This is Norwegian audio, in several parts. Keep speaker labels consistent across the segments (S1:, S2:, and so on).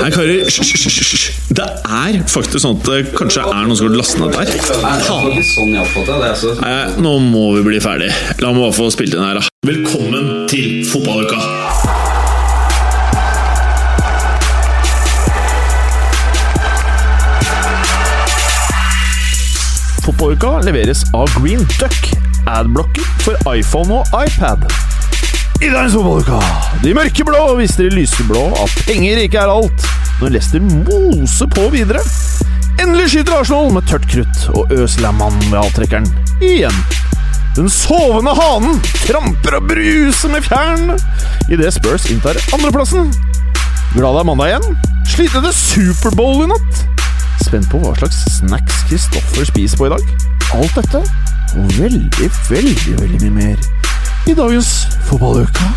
S1: Nei, karer, hysj, hysj, hysj, hysj. Det er faktisk sånn at det kanskje er noen som har lastet ned der.
S2: Sånn jeg oppfatter det. Altså.
S1: Nei, nå må vi bli ferdig. La meg bare få spilt inn her, da. Velkommen til fotballuka!
S3: Fotballuka leveres av Green Duck, adblocker for iPhone og iPad. I dagens fotballuka de mørkeblå viser de lyseblå at penger ikke er alt, når Leicester moser på videre. Endelig skyter Arsenal med tørt krutt, og Øslandmann ved avtrekkeren igjen. Den sovende hanen tramper og bruser med fjærene idet Spurs inntar andreplassen. Glad det er mandag igjen. Slitne til Superbowl i natt. Spent på hva slags snacks Kristoffer spiser på i dag. Alt dette og veldig, veldig, veldig mye mer i dagens Fotballuka.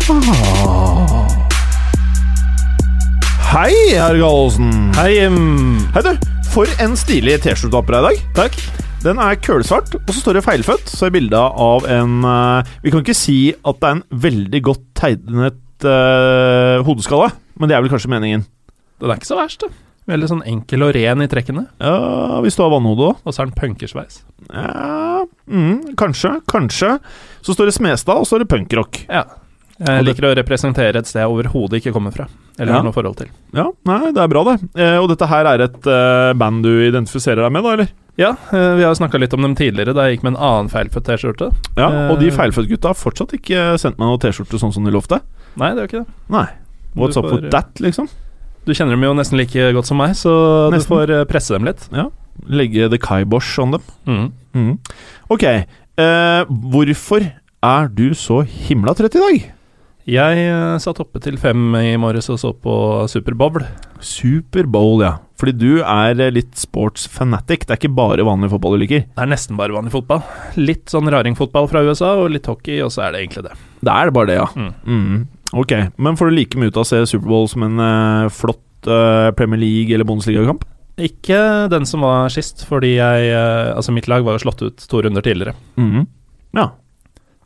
S3: Hei, herr Gallosen.
S4: Hei, em,
S3: Hei, du. For en stilig T-skjorte du har på deg i dag. Takk. Den er kølsvart, og så står det feilfødt. Så er bildet av en eh, Vi kan ikke si at det er en veldig godt tegnet eh, hodeskalle, men det er vel kanskje meningen.
S4: den er ikke så verst, da. Veldig sånn enkel og ren i trekkene.
S3: Ja, hvis du har vannhode òg.
S4: Og så er den punkersveis.
S3: Ja, mm, kanskje, kanskje. Så står det Smestad, og så står det punkrock.
S4: Ja. Jeg liker å representere et sted jeg overhodet ikke kommer fra. Eller
S3: Ja.
S4: har noe forhold til.
S3: Ja, nei, det er bra, det. Eh, og dette her er et eh, band du identifiserer deg med, da, eller?
S4: Ja, eh, vi har snakka litt om dem tidligere, da jeg gikk med en annen feilfødt T-skjorte.
S3: Ja, Og de
S4: Eh.
S3: feilfødte gutta har fortsatt ikke eh, sendt meg noen T-skjorte sånn som de lovte.
S4: Nei, det er jo ikke det.
S3: Nei. What's
S4: Du
S3: up
S4: får,
S3: with
S4: eh,
S3: that, liksom?
S4: Du kjenner dem jo nesten like godt som meg, så
S3: Nesten.
S4: du får eh, presse dem litt.
S3: Legge the kibosh on dem.
S4: Mm.
S3: Mm. Ok, eh, hvorfor er du så himla trøtt i dag?
S4: Jeg eh, satt oppe til fem i morges og så på Superbowl.
S3: Superbowl, ja. Fordi du er eh, litt sports fanatic. Det er ikke bare vanlig fotball du liker.
S4: Det er nesten bare vanlig fotball. Litt sånn raringfotball fra USA, og litt hockey, og så er det egentlig det.
S3: Det er bare det, ja.
S4: Mm.
S3: Mm. Ok, men får du like mye ut av å se Superbowl som en eh, flott eh, Premier League- eller Bundesliga-kamp?
S4: Ikke den som var sist, fordi jeg eh, Altså, mitt lag var jo slått ut to runder tidligere.
S3: Mhm. Ja.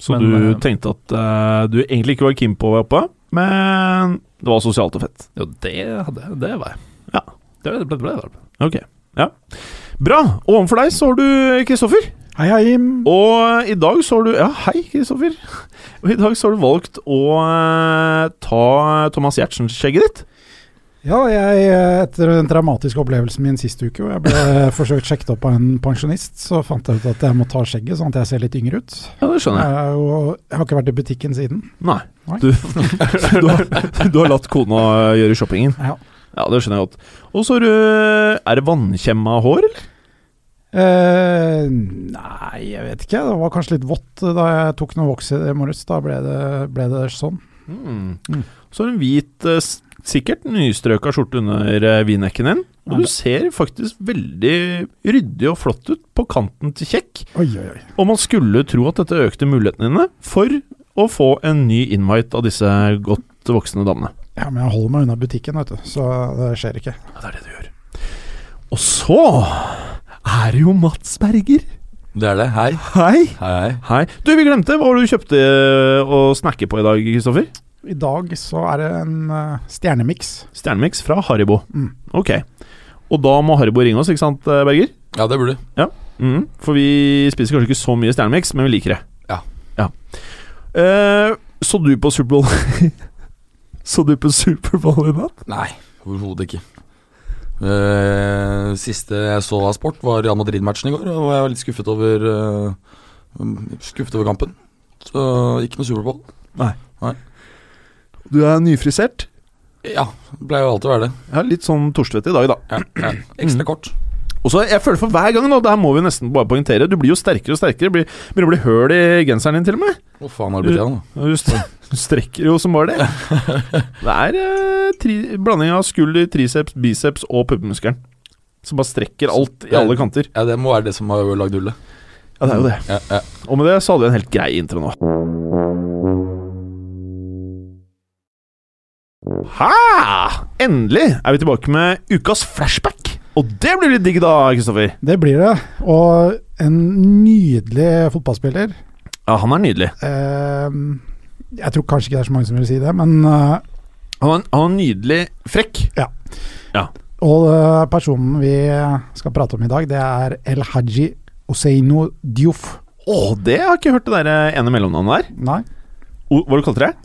S3: Så
S4: Men,
S3: du
S4: eh,
S3: tenkte at eh, du egentlig ikke var keen på å være oppe, men det var sosialt og fett.
S4: Jo, det hadde jeg. Det var jeg.
S3: Ja.
S4: Det ble, ble, ble, ble.
S3: Ok, ja. Bra. Og overfor deg så har du Kristoffer.
S5: Hei, hei.
S3: Og eh, i dag så har du Ja, hei, Kristoffer. Og i dag så har du valgt å eh, ta Thomas Giertsen-skjegget ditt.
S5: Ja, jeg, eh, etter den traumatiske opplevelsen min sist uke, hvor jeg ble forsøkt sjekket opp av en pensjonist, så fant jeg ut at jeg må ta skjegget, sånn at jeg ser litt yngre ut.
S3: Ja, det
S5: Jeg,
S3: skjønner jeg.
S5: er jo- jeg har ikke vært i butikken siden.
S3: Nei.
S5: Nei.
S3: Du, du, har, du har latt kona eh, gjøre shoppingen.
S5: Ja.
S3: Ja, det skjønner jeg godt. Og så har du eh, Er det vannkjemma hår, eller?
S5: Eh, nei, jeg vet ikke. Det var kanskje litt vått eh, da jeg tok noe voks i morges. Da ble det, ble det sånn. Mm.
S3: Så har du en hvit, eh, s- sikkert nystrøka skjorte under eh, vinnekken din.
S5: Ja,
S3: Og du
S5: det-
S3: ser faktisk veldig ryddig og flott ut på kanten til kjekk.
S5: Oi, oi, oi.
S3: Og man skulle tro at dette økte mulighetene dine for å få en ny invite av disse godt voksne damene.
S5: Ja, men jeg holder meg unna butikken, vet du, så det skjer ikke.
S3: Ja, det er det du gjør. Og så er det jo Mats Berger.
S6: Det er det. Hei.
S3: Hei.
S6: Hei, hei.
S3: Hei. Du, vi glemte hva var det du kjøpte eh, å snakke på i dag, Kristoffer.
S5: I dag så er det en eh, stjernemiks.
S3: Stjernemix fra Haribo.
S5: Mm.
S3: Ok. Og da må Haribo ringe oss, ikke sant, eh, Berger?
S6: Ja, det burde du.
S3: Mhm, for vi spiser kanskje ikke så mye Stjernemix, men vi liker det.
S6: Ja.
S3: Eh, så du på Superbowl Så du på Superbowl i natt?
S6: Nei, overhodet ikke. Eh, siste jeg så av sport, var Real Madrid-matchen i går. Og jeg var litt skuffet over eh, Skuffet over kampen. Så ikke noe Superbowl.
S3: Du er nyfrisert.
S6: Ja, det pleier jo alltid å være det.
S3: Ja, Litt sånn torstete i dag, da. Mm.
S6: Ja, ja. Ekstra kort.
S3: Og så, jeg føler for hver gang nå, det her må vi nesten bare poengtere, du blir jo sterkere og sterkere. Blir, begynner å bli høl i genseren din, til og med.
S6: Å faen har det blitt igjen, da?
S3: Du, st du strekker jo som bare det. Det er eh, tri blanding av skulder, triceps, biceps og puppemuskelen. Som bare strekker alt i alle kanter.
S6: Ja, det må være det som har lagd hullet.
S3: Ja, det er jo det.
S6: Ja, ja.
S3: Og med det så hadde vi en helt grei intro nå. Ha! Endelig er vi tilbake med ukas flashback. Og det blir litt digg, da, Kristoffer.
S5: Det blir det. Og en nydelig fotballspiller.
S3: Ja, han er nydelig.
S5: Ehm, jeg tror kanskje ikke det er så mange som vil si det, men eh,
S3: Han, han er nydelig frekk.
S5: Og eh, personen vi skal prate om i dag, det er El Haji Oseino Diouf.
S3: Å, det har jeg ikke hørt det der eh, ene mellomnavnet der.
S5: Nei,
S3: O, hva du kalte du det?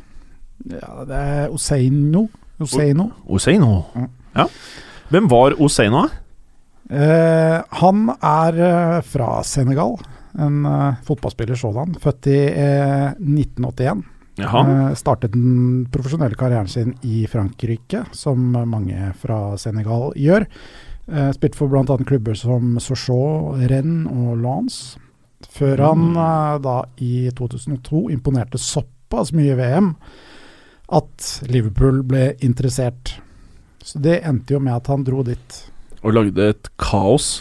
S5: ja, det er Oseino. Oseino.
S3: Oseino.
S5: Mm.
S3: Ja. Hvem var Oseino?
S5: Eh, han er eh, fra Senegal. En eh, fotballspiller sådan. Født i eh, 1981.
S3: Jaha.
S5: Eh, startet den profesjonelle karrieren sin i Frankrike, som mange fra Senegal gjør. Eh, spilte for bl.a. klubber som Sochaux, Rennes og Lance. Før han eh, da i 2002 imponerte såpass mye i VM at Liverpool ble interessert. Så det endte jo med at han dro dit.
S3: Og lagde et kaos.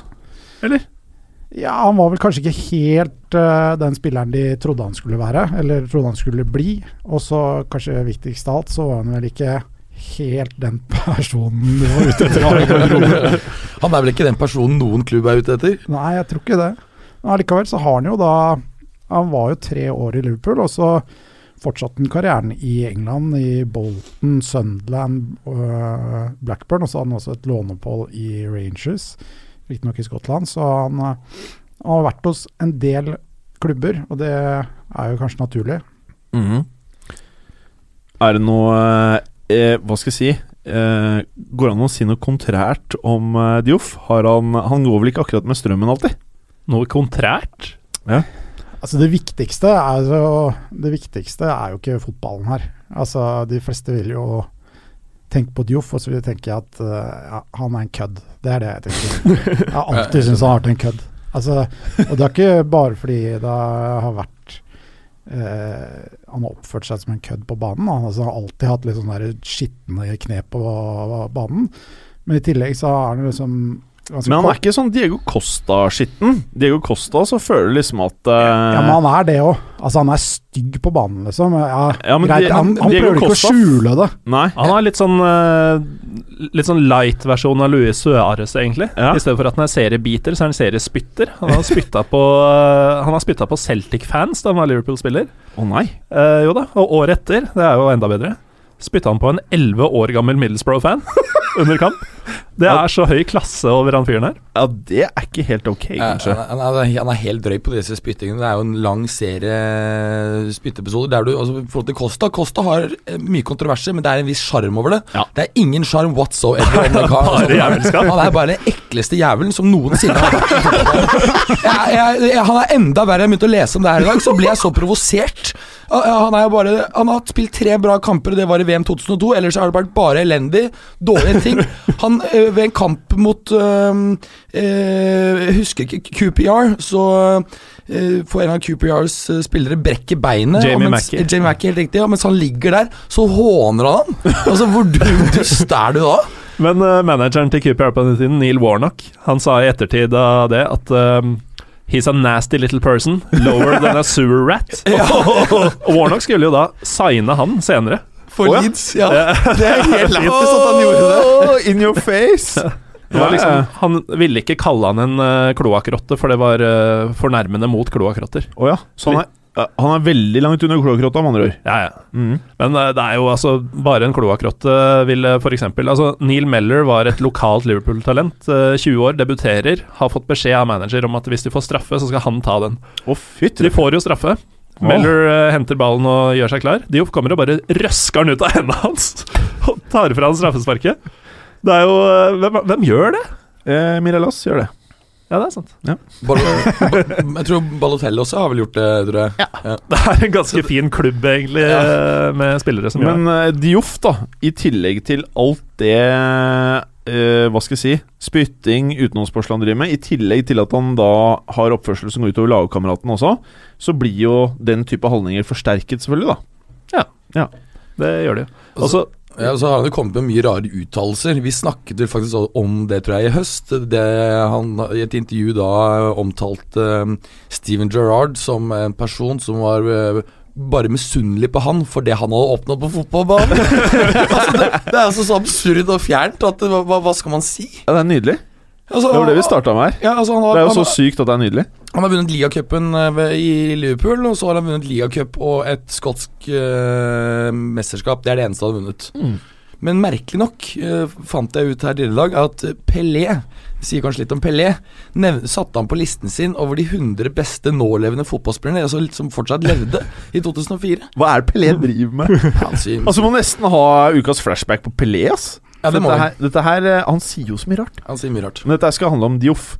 S5: Ja, han var vel kanskje ikke helt eh, den spilleren de trodde han skulle være, eller trodde han skulle bli. Og så, kanskje viktigst av alt, så var han vel ikke helt den personen de var ute etter.
S6: Han er vel ikke den personen noen klubb er ute etter?
S5: Nei, jeg tror ikke det. Men allikevel så har han jo da Han var jo tre år i Liverpool, og så fortsatte han karrieren i England, i Bolton, Sunderland, øh, Blackburn, og så hadde han også et låneopphold i Rangers, riktignok i Skottland. Så han, øh, han har vært hos en del klubber, og det er jo kanskje naturlig.
S3: Mhm. Er det noe eh, Hva skal jeg si? Eh, går det an å si noe kontrært om eh, Dioff? Har han, han går vel ikke akkurat med strømmen alltid?
S4: Noe kontrært?
S5: Altså det viktigste, er jo, det viktigste er jo ikke fotballen her. Altså De fleste vil jo tenke på Dioff, og så vil de tenke at eh, ja, han er en kødd. Det er det jeg tenker. Jeg har alltid syntes han har vært en kødd. Altså, og det er ikke bare fordi det har vært eh, Han har oppført seg som en kødd på banen. Han altså, har alltid hatt litt sånne der skitne kne på banen. Men i tillegg så er han liksom ganske
S3: Men han
S5: kort.
S3: er ikke sånn Diego Costa-skitten. Diego Costa så føler du liksom at eh,
S5: Ja, men han er det òg. Altså, han er stygg på banen, liksom. Ja,
S3: Ja, men
S5: greit,
S3: det-
S5: han, han
S3: Diego
S5: prøver ikke å
S3: Costa-
S5: skjule det.
S3: Nei.
S4: Han har litt sånn eh, Litt sånn light-versjon av Louis Suárez, egentlig.
S3: Ja.
S4: I stedet for at han er seriebiter, så er han seriespytter. Han har spytta på, eh, han har spyttet på Celtic-fans da han var Liverpool-spiller.
S3: Å nei.
S4: Eh, jo da, og året etter, det er jo enda bedre, spytta han på en 11 år gammel Middlesbrough-fan under kamp. Det er så høy klasse over han fyren her.
S3: Ja, det er ikke helt ok, kanskje.
S6: Ja, Han, han, er, han er helt drøy på disse spyttingene. Det er jo en lang serie spytteepisoder. Der du, altså, i forhold til Costa Costa har eh, mye kontroverser, men det er en viss sjarm over det.
S3: Ja.
S6: Det er ingen sjarm whatsoever. om det kan-
S4: Bare jævelskap.
S6: han er bare den ekleste jævelen som noensinne har vært. jeg, jeg, jeg, Han er enda verre. Jeg begynte å lese om det her i dag, så ble jeg så provosert. Ja, ja, Han, er jo bare, han har spilt tre bra kamper, og det var i VM 2002. Ellers har det vært bare elendig, dårlige ting. Han, eh, ved en kamp mot øhm, eh, Jeg husker ikke QPR, så eh, får en av QPRs eh, spillere brekke beinet. og
S4: Jamie
S6: mens-
S4: Mackey.
S6: Jamie Mackey, helt riktig. Og mens han ligger der, så håner han ham. Altså, hvor dum dust er du da?
S4: Men eh, manageren til QPR på den tiden, Neil Warnock, han sa i ettertid av det at ehm, He's a nasty little person, lower than a sewer rat. Og Warnock skulle jo da signe han senere. Eh,
S6: For
S3: Å, ja.
S6: Leeds, ja. Det er
S3: Leeds,
S6: helt lettest at han gjorde det.
S3: Åh, in your face!
S4: Det var liksom, han ville ikke kalle han en uh, kloakkrotte, for det var eh, fornærmende mot kloakkrotter.
S3: Å ja. Så han er, ja, han er veldig langt under kloakrotta, med andre ord.
S4: Ja, ja.
S5: Mm.
S4: Men eh, det er jo altså Bare en kloakkrotte ville f.eks. Altså, Neil Meller var et lokalt Liverpool-talent. eh, 20 år, debuterer. Har fått beskjed av manager om at hvis de får straffe, så skal han ta den.
S3: Å, fytti
S4: De får jo straffe. Meller eh, henter ballen og gjør seg klar. Dioff kommer og bare røsker den ut av hendene hans og tar fra han straffesparket. Det er jo eh, hvem, hvem gjør det?
S3: Eh, Mirellas gjør det.
S4: Ja, det er sant.
S6: Bal ba jeg tror Balotelli også har vel gjort det, tror jeg.
S4: Det er en ganske fin klubb, egentlig, eh, med spillere som gjør det.
S3: Men eh, Dioff, da, i tillegg til alt det eh, Hva skal jeg si spytting, utenomsportslig han driver med, i tillegg til at han da har oppførsel som går utover lagkameratene også, så blir jo den type handlinger forsterket, selvfølgelig, da.
S4: Det gjør de jo. Og så
S6: Ja, og så har han jo kommet med mye rare uttalelser. Vi snakket vel faktisk også om det, tror jeg, i høst. Det han i et intervju da omtalte eh, Steven Gerrard som en person som var eh, bare misunnelig på han for det han hadde oppnådd på fotballbanen. altså det, det er altså så absurd og fjernt at det- hva, hva skal man si?
S3: Ja, Det er nydelig.
S6: Altså,
S3: Det var det vi starta med her.
S6: Ja, altså, han,
S3: Det
S6: har,
S3: er jo så
S6: han,
S3: sykt at det er nydelig.
S6: han har vunnet ligacupen eh, ved- i Liverpool, og så har han vunnet ligacup og et skotsk eh, mesterskap. Det er det eneste han har vunnet.
S3: Mm.
S6: Men merkelig nok eh, fant jeg ut her tidligere i dag at Pelé det sier kanskje litt om Pelé. Nev satte han på listen sin over de 100 beste nålevende fotballspillerne altså litt som fortsatt levde i 2004.
S3: Hva er det Pelé driver med?
S6: Han sier,
S3: Altså, Må nesten ha ukas flashback på Pelé, ass.
S6: ja, det må
S3: dette,
S6: vi.
S3: her, dette her eh, Han sier jo så mye rart.
S6: Han sier mye rart.
S3: Men dette skal handle om Dioff.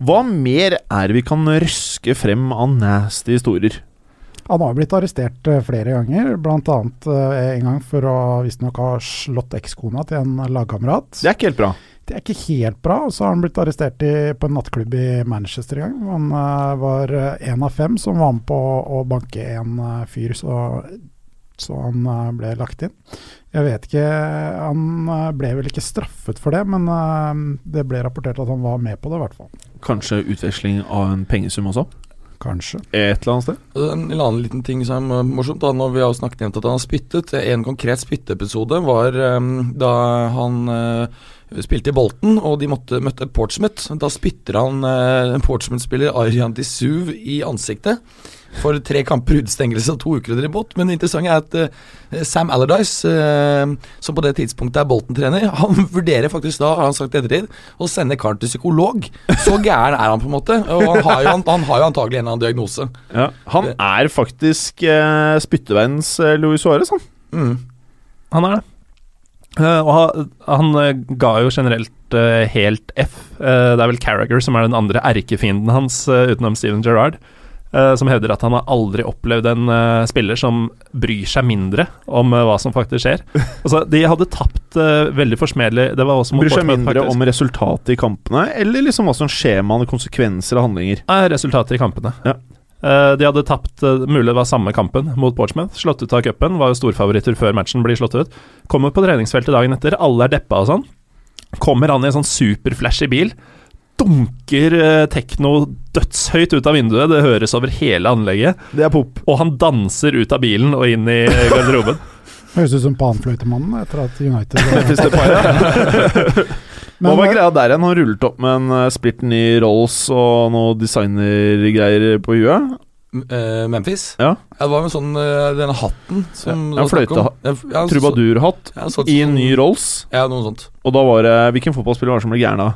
S3: Hva mer er det vi kan røske frem av nasty historier?
S5: Han har jo blitt arrestert eh, flere ganger, bl.a. en gang for å visstnok ha slått ekskona til en lagkamerat.
S3: Det er ikke helt bra.
S5: Det er ikke helt bra. Og så har han blitt arrestert i, på en nattklubb i Manchester en gang. Han eh, var én av fem som var med på å banke en eh, fyr, så, så han eh, ble lagt inn. Jeg vet ikke Han eh, ble vel ikke straffet for det, men eh, det ble rapportert at han var med på det, i hvert fall.
S3: Kanskje utveksling av en pengesum også?
S5: Kanskje.
S3: Et eller annet sted?
S6: Og En annen liten ting som er morsomt, da, når vi har jo snakket nevnt at han har spyttet. En konkret spytteepisode var eh, da han eh, spilte i Bolten, og de måtte, møtte Portsmouth. Da spytter han eh, en Portsmouth-spiller Arjan Disuv i ansiktet. For tre kamper utestengelse og to uker under i båt. Men det interessante er at eh, Sam Allardyce, eh, som på det tidspunktet er Bolten-trener, han vurderer faktisk da, har han sagt i ettertid, å sende karen til psykolog. Så gæren er han på en måte. Og han har jo, han har jo antagelig en eller annen diagnose.
S3: Ja. Han er faktisk eh, spytteveiens eh, Louis Suárez, han.
S6: Mm.
S4: Han er det. Eh, og han, han eh, ga jo generelt eh, helt F. Eh, det er vel Carragher som er den andre erkefienden hans, eh, utenom Steven Gerrard, eh, som hevder at han har aldri opplevd en eh, spiller som bryr seg mindre om eh, hva som faktisk skjer. Altså, de hadde tapt eh, veldig forsmedelig Det var også mot
S3: Bryr seg
S4: Portsmouth,
S3: mindre
S4: faktisk.
S3: om resultatet i kampene, eller liksom hva som skjer med han, konsekvenser av handlinger.
S4: Nei, resultater i kampene.
S3: Ja.
S4: Eh, de hadde tapt eh, mulig det var samme kampen mot Portsmouth. Slått ut av cupen, var jo storfavoritter før matchen blir slått ut. Kommer på treningsfeltet dagen etter, alle er deppa og sånn. Kommer han i en sånn superflashy bil. Dunker eh, tekno dødshøyt ut av vinduet, det høres over hele anlegget.
S3: Det er pop.
S4: Og han danser ut av bilen og inn i eh, garderoben.
S5: Høres ut som panfløytemannen etter at United
S3: Hvis det eh, bare Hva
S5: Men,
S3: var greia der igjen? Han rullet opp med en eh, splitter ny Rolls og noe designergreier på huet.
S6: M- eh, Memphis?
S3: Ja.
S6: Det var jo sånn eh, denne hatten som
S3: Ja, en fløytehatt. Trubadurhatt i en ny Rolls.
S6: Ja, noe sånt.
S3: Og da var det Hvilken fotballspiller var det som ble gæren av?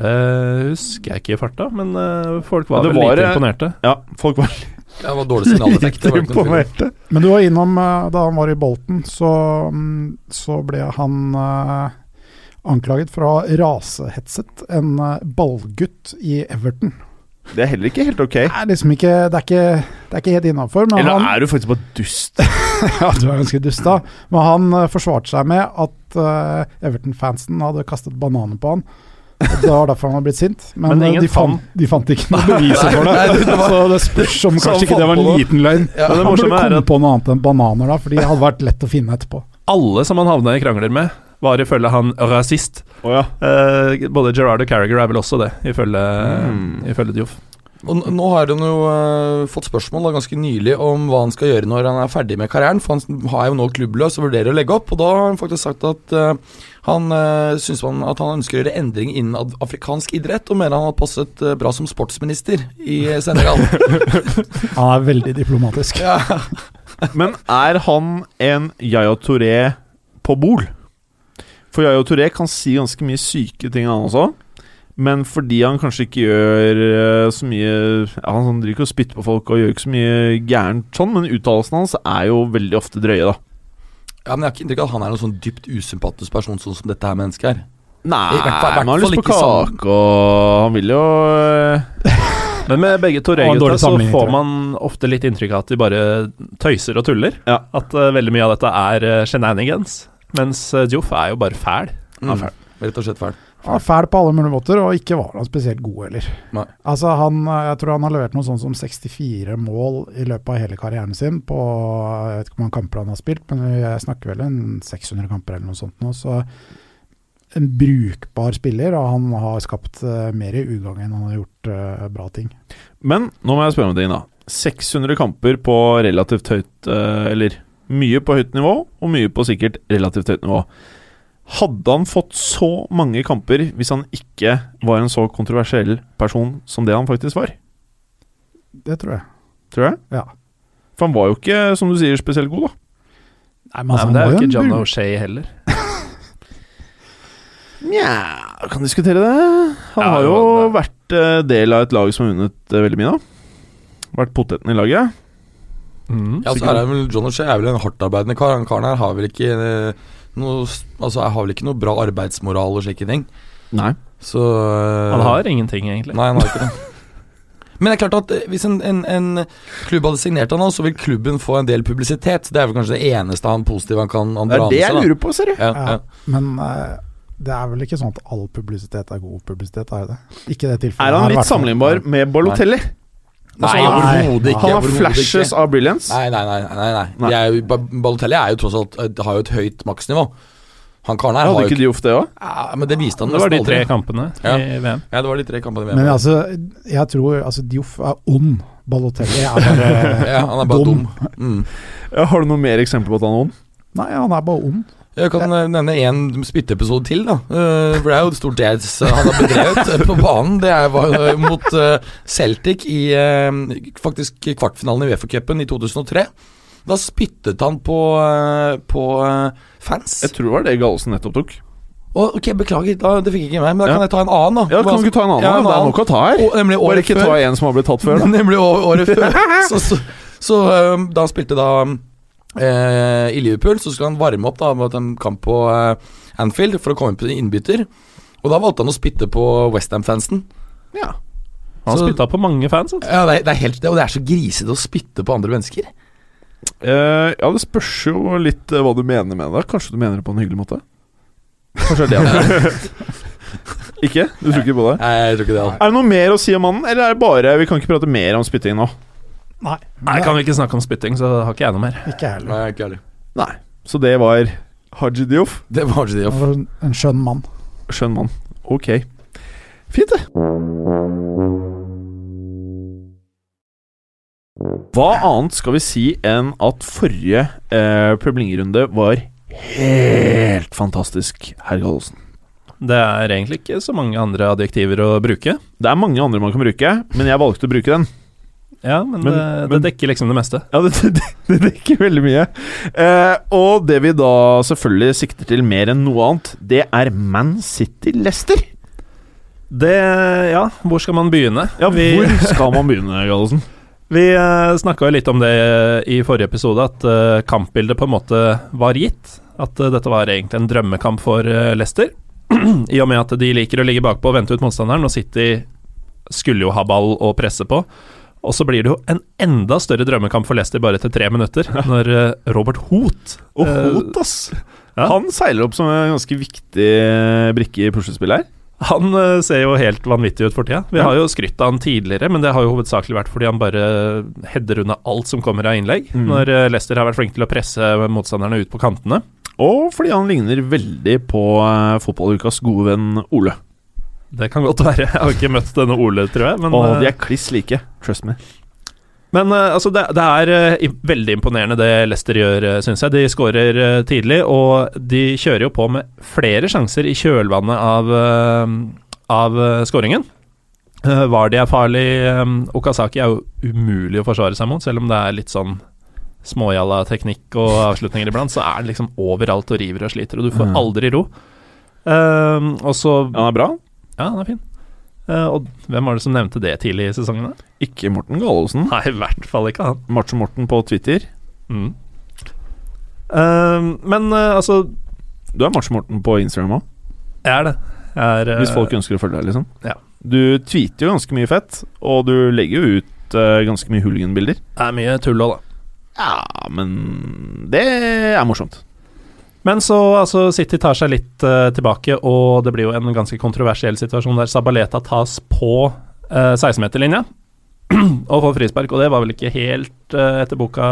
S4: Eh, husker jeg ikke i farta, men eh, folk
S3: Ja,
S4: var,
S3: det
S4: vel
S3: var,
S4: lite
S3: eh,
S4: imponerte.
S3: Ja, folk var
S6: Ja, Det var dårlig signaleffekt. det var ikke noe tvil.
S3: imponerte.
S5: Men du var innom eh, da han var i Bolten, så, mm, så ble han eh, anklaget for å ha rasehetset en eh, ballgutt i Everton.
S3: Det er heller ikke helt ok.
S5: Det er liksom ikke Det er ikke, det er ikke helt innafor, men
S3: Eller
S5: han
S3: er du faktisk bare dust?
S5: Ja, du er ganske dust, da. Men han eh, forsvarte seg med at eh, Everton-fansen hadde kastet bananer på han. Og Det var derfor han var blitt sint, men,
S4: Men
S5: eh,
S4: ingen
S5: de, fant, de fant ikke noe bevis for det.
S6: Nei, det var-
S5: Så det spørs om
S6: Så han
S5: kanskje ikke
S6: fant
S5: det var en
S6: på det.
S5: liten løgn.
S6: Ja,
S5: Han burde
S4: morsomme er
S5: komme
S4: at-
S5: på noe annet enn bananer, da, for de hadde vært lett å finne etterpå.
S4: Alle som han havna i krangler med, var ifølge han rasist.
S3: Å ja.
S4: Eh, både Gerard og Carragher er vel også det, ifølge,
S3: Mm.
S4: ifølge Dioff.
S6: Og n- nå har han jo eh, fått spørsmål da, ganske nylig om hva han skal gjøre når han er ferdig med karrieren, for han s- har jo nå klubbløs og vurderer å legge opp. Og da har han faktisk sagt at eh, han uh, syns man at han ønsker å gjøre endring innen ad- afrikansk idrett, og mener han har passet eh, bra som sportsminister i Senegal.
S5: Han er veldig diplomatisk.
S6: ja.
S3: Men er han en Yaya Touré på Bol? For Yaya Touré kan si ganske mye syke ting, han også. Men fordi han kanskje ikke gjør eh, så mye ja, Han driver ikke og spytter på folk og gjør ikke så mye gærent sånn, men uttalelsene hans er jo veldig ofte drøye, da.
S6: ja, men jeg har ikke inntrykk av at han er noen sånn dypt usympatisk person, sånn som dette her mennesket er.
S3: Nei,
S6: I hvert fall- i hvert
S3: men han har lyst
S6: fall
S3: på
S6: ikke sammen.
S3: kake, og han vil jo eh,
S4: Men med begge
S5: Og en
S4: Toré-gutta
S5: dårlig
S4: så
S5: sammenligning, tror
S4: får
S5: jeg.
S4: man ofte litt inntrykk av at de bare tøyser og tuller.
S3: Ja.
S4: At eh, veldig mye av dette er eh, shenanigans. Mens eh, Dioff er jo bare fæl.
S3: Ja,
S6: Mm. Rett og slett fæl.
S5: Han var fæl på alle mulige måter, og ikke var han spesielt god heller.
S6: Nei.
S5: Altså han, Jeg tror han har levert noe sånn som 64 mål i løpet av hele karrieren sin på Jeg vet ikke hvor mange kamper han har spilt, men jeg snakker vel en 600 kamper eller noe sånt nå. Så en brukbar spiller, og han har skapt eh, mer i ugagn enn han har gjort eh, bra ting.
S3: Men nå må jeg spørre om ting, da. 600 kamper på relativt høyt eh, Eller mye på høyt nivå, og mye på sikkert relativt høyt nivå. Hadde han fått så mange kamper hvis han ikke var en så kontroversiell person som det han faktisk var?
S5: Det tror jeg.
S3: Tror jeg.
S5: Ja.
S3: For han var jo ikke, som du sier, spesielt god, da.
S5: Nei,
S4: Nei,
S5: altså,
S4: men det
S5: han
S4: er jo
S5: var
S4: ikke
S5: en
S4: John
S5: bruk-
S4: O'Shay heller.
S3: Nja, kan diskutere det. Han
S4: Ja,
S3: har
S4: det
S3: jo
S4: var-
S3: vært eh, del av et lag som har vunnet eh, veldig mye, da. Vært poteten i laget.
S4: Mm. Eh,
S6: Ja, så er det vel, John O'Shea er vel en hardtarbeidende kar. Han karen her har vel ikke eh, noe Altså, har vel ikke noe bra arbeidsmoral og slike ting.
S3: Nei.
S6: Så eh,
S4: Han har ingenting, egentlig.
S6: Nei, han har ikke det. Men det er klart at eh, hvis en, en, en klubb hadde signert han nå, så vil klubben få en del publisitet. Det er vel kanskje det eneste han positive han kan han
S3: Det er
S6: drar
S3: det
S6: med
S3: jeg
S6: seg, da.
S3: lurer på, ser du.
S6: Ja,
S5: Ja,
S6: ja.
S5: men eh, det er vel ikke sånn at all publisitet er god publisitet, er det det? Ikke i det tilfellet.
S3: Er
S5: her,
S3: han
S5: i hvert
S3: litt
S5: fall.
S3: sammenlignbar med Balotelli?
S6: Nei,
S5: Altså, nei.
S6: overhodet ikke.
S3: Han har
S6: overhodet
S3: flashes
S6: ikke.
S3: av brilliance.
S6: Nei, nei, nei. nei, nei.
S3: Nei.
S6: De er jo, Ba- Balotelli er jo tross alt eh, har jo et høyt maksnivå. Han karen her
S3: Hadde
S6: har jo
S3: ikke
S6: ikke
S3: de ofte det òg?
S6: ja, Men det viste han
S4: Det var de
S6: nesten
S4: tre
S6: aldri.
S4: kampene
S6: Ja.
S4: i VM.
S6: Ja, det var de tre kampene vi
S5: Men altså, jeg tror altså, Dioff er ond. Balotelli er bare
S6: Ja, han er bare dum. Mm.
S3: Har du noe mer eksempler på at han er ond?
S5: Nei, han er bare ond.
S6: Jeg kan eh, nevne én spytteepisode til, da. Eh, For det er jo stort det s- han har bedrevet eh, på banen. Det er, var eh, mot eh, Celtic i eh, faktisk kvartfinalen i Uefa-cupen i 2003. Da spyttet han på, eh, på eh, fans.
S3: Jeg tror det var det Gallosen nettopp tok.
S6: Og, ok, Beklager, da, det fikk jeg ikke med meg, men da
S3: Ja.
S6: kan jeg ta en annen. da
S3: Ja, Kan du ikke ta en annen?
S6: Ja, en
S3: Det er
S6: annen.
S3: nok å ta her.
S6: Og, nemlig
S3: Bare
S6: året
S3: ikke
S6: før.
S3: ta en som har blitt tatt før. da.
S6: Nemlig å- året før. Så, så, så øhm, da han spilte da eh, i Liverpool, så skulle han varme opp da mot en kamp på eh, Anfield for å komme inn på innbytter. Og da valgte han å spytte på Westham-fansen.
S3: Ja.
S4: Han
S6: Så-
S4: spytta på mange fans. Altså.
S6: Ja, det, er- det er helt det, og det er så grisete å spytte på andre mennesker.
S3: Eh, ja, det spørs jo litt eh, hva du mener med det. Kanskje du mener det på en hyggelig måte? Kanskje det er det han Ikke? Du tror ikke på det?
S6: Nei, jeg tror ikke det. da.
S3: Er det noe mer å si om mannen, eller er det bare Vi kan ikke prate mer om spytting nå.
S5: Nei,
S4: Nei, kan vi ikke snakke om spytting, så har ikke jeg noe mer.
S5: ikke jeg heller.
S6: Nei, ikke heller.
S3: Nei. Så det var Haji Dioff.
S6: Det var ikke det.
S5: Han
S6: ja.
S5: var en- en skjønn mann.
S3: Skjønn mann. Ok. Fint, det. Hva annet skal vi si enn at forrige eh, Premier League-runde var helt fantastisk, herr Gallosen?
S4: Det er egentlig ikke så mange andre adjektiver å bruke.
S3: Det er mange andre man kan bruke, men jeg valgte å bruke den.
S4: Ja, men,
S3: Men-
S4: det,
S3: men-
S4: det dekker liksom det meste.
S3: Ja, det, det, det dekker veldig mye. Eh, og det vi da selvfølgelig sikter til mer enn noe annet, det er Man City-Lester.
S4: Det Eh, Ja, hvor skal man begynne?
S3: Ja,
S4: vi
S3: hvor skal man begynne, Gallosen?
S4: vi eh, snakka jo litt om det i forrige episode, at eh, kampbildet på en måte var gitt. At eh, dette var egentlig en drømmekamp for eh, Leicester. I og med at de liker å ligge bakpå og vente ut motstanderen, og City skulle jo ha ball og presse på. Og så blir det jo en enda større drømmekamp for Leicester bare etter tre minutter, når eh, Robert Hoot
S3: Og
S4: eh,
S3: Hot, ass.
S4: ja.
S3: Han seiler opp som en ganske viktig eh, brikke i puslespillet her.
S4: Han eh, ser jo helt vanvittig ut for tida. Vi har jo skrytt av han tidligere, men det har jo hovedsakelig vært fordi han bare header unna alt som kommer av innlegg,
S3: Mm.
S4: når eh, Leicester har vært flink til å presse motstanderne ut på kantene.
S3: Og fordi han ligner veldig på eh, fotballukas gode venn Ole.
S4: Det kan godt være. Jeg har ikke møtt denne Ole, tror jeg. Men,
S3: Og de
S4: eh,
S3: er kliss like. Trust me.
S4: men eh, altså, det, det er eh, i- veldig imponerende det Leicester gjør, uh, syns jeg. De skårer eh, tidlig, og de kjører jo på med flere sjanser i kjølvannet av, eh, av eh, skåringen. Eh, Vardy er farlig. eh, Okazaki er jo umulig å forsvare seg mot, selv om det er litt sånn småjalla teknikk og avslutninger iblant, så er han liksom overalt og river og sliter, og du får
S3: Mm.
S4: aldri ro. Eh, og så
S3: Han er bra.
S4: Ja, han er fin. Eh, og hvem var det som nevnte det tidlig i sesongen? da?
S3: Ikke Morten Gallosen.
S4: Nei, i hvert fall ikke han.
S3: Macho-Morten på Twitter.
S4: Mm. Eh, men eh, altså
S3: Du er Macho-Morten på Instagram òg,
S4: Jeg er det. Jeg er, eh,
S3: hvis folk ønsker å følge deg. liksom
S4: ja.
S3: Du tweeter jo ganske mye fett, og du legger jo ut eh, ganske mye hooligan-bilder.
S4: er mye tull òg, da.
S3: Ja, men det er morsomt.
S4: Men så altså, City tar seg litt eh, tilbake, og det blir jo en ganske kontroversiell situasjon der Sabaleta tas på eh, 16-meterlinja og får frispark, og det var vel ikke helt eh, etter boka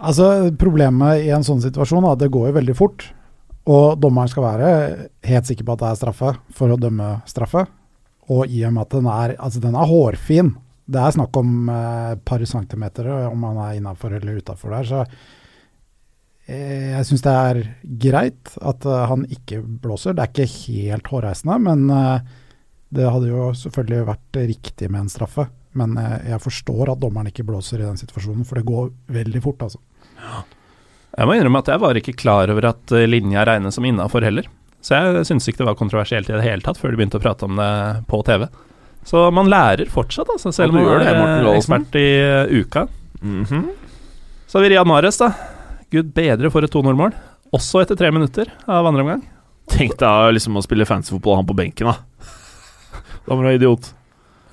S5: Altså, problemet i en sånn situasjon er at det går jo veldig fort. Og dommeren skal være helt sikker på at det er straffe, for å dømme straffe. Og i og med at den er, altså den er hårfin, det er eh, snakk om et eh, par centimeter og om han er innafor eller utafor der, så eh, jeg syns det er greit at eh, han ikke blåser. Det er ikke helt hårreisende, men eh, det hadde jo selvfølgelig vært riktig med en straffe. Men eh, jeg forstår at dommeren ikke blåser i den situasjonen, for det går veldig fort, altså.
S4: Jeg må innrømme at jeg var ikke klar over at eh, linja regnes som innafor heller. Så jeg syntes ikke det var kontroversielt i det hele tatt før de begynte å prate om det på TV. Så man lærer fortsatt, altså, selv om
S3: Ja, du
S4: man
S3: gjør det,
S4: er
S3: Morten
S4: eh,
S3: Galesen.
S4: ekspert i eh, uka.
S3: Mhm.
S4: Så har vi Riyad Mahrez, da. Gud bedre for et 2-0-mål. Også etter tre minutter av andre omgang.
S3: Tenk deg liksom å spille fancyfotball og han på benken, da. Da må du være idiot.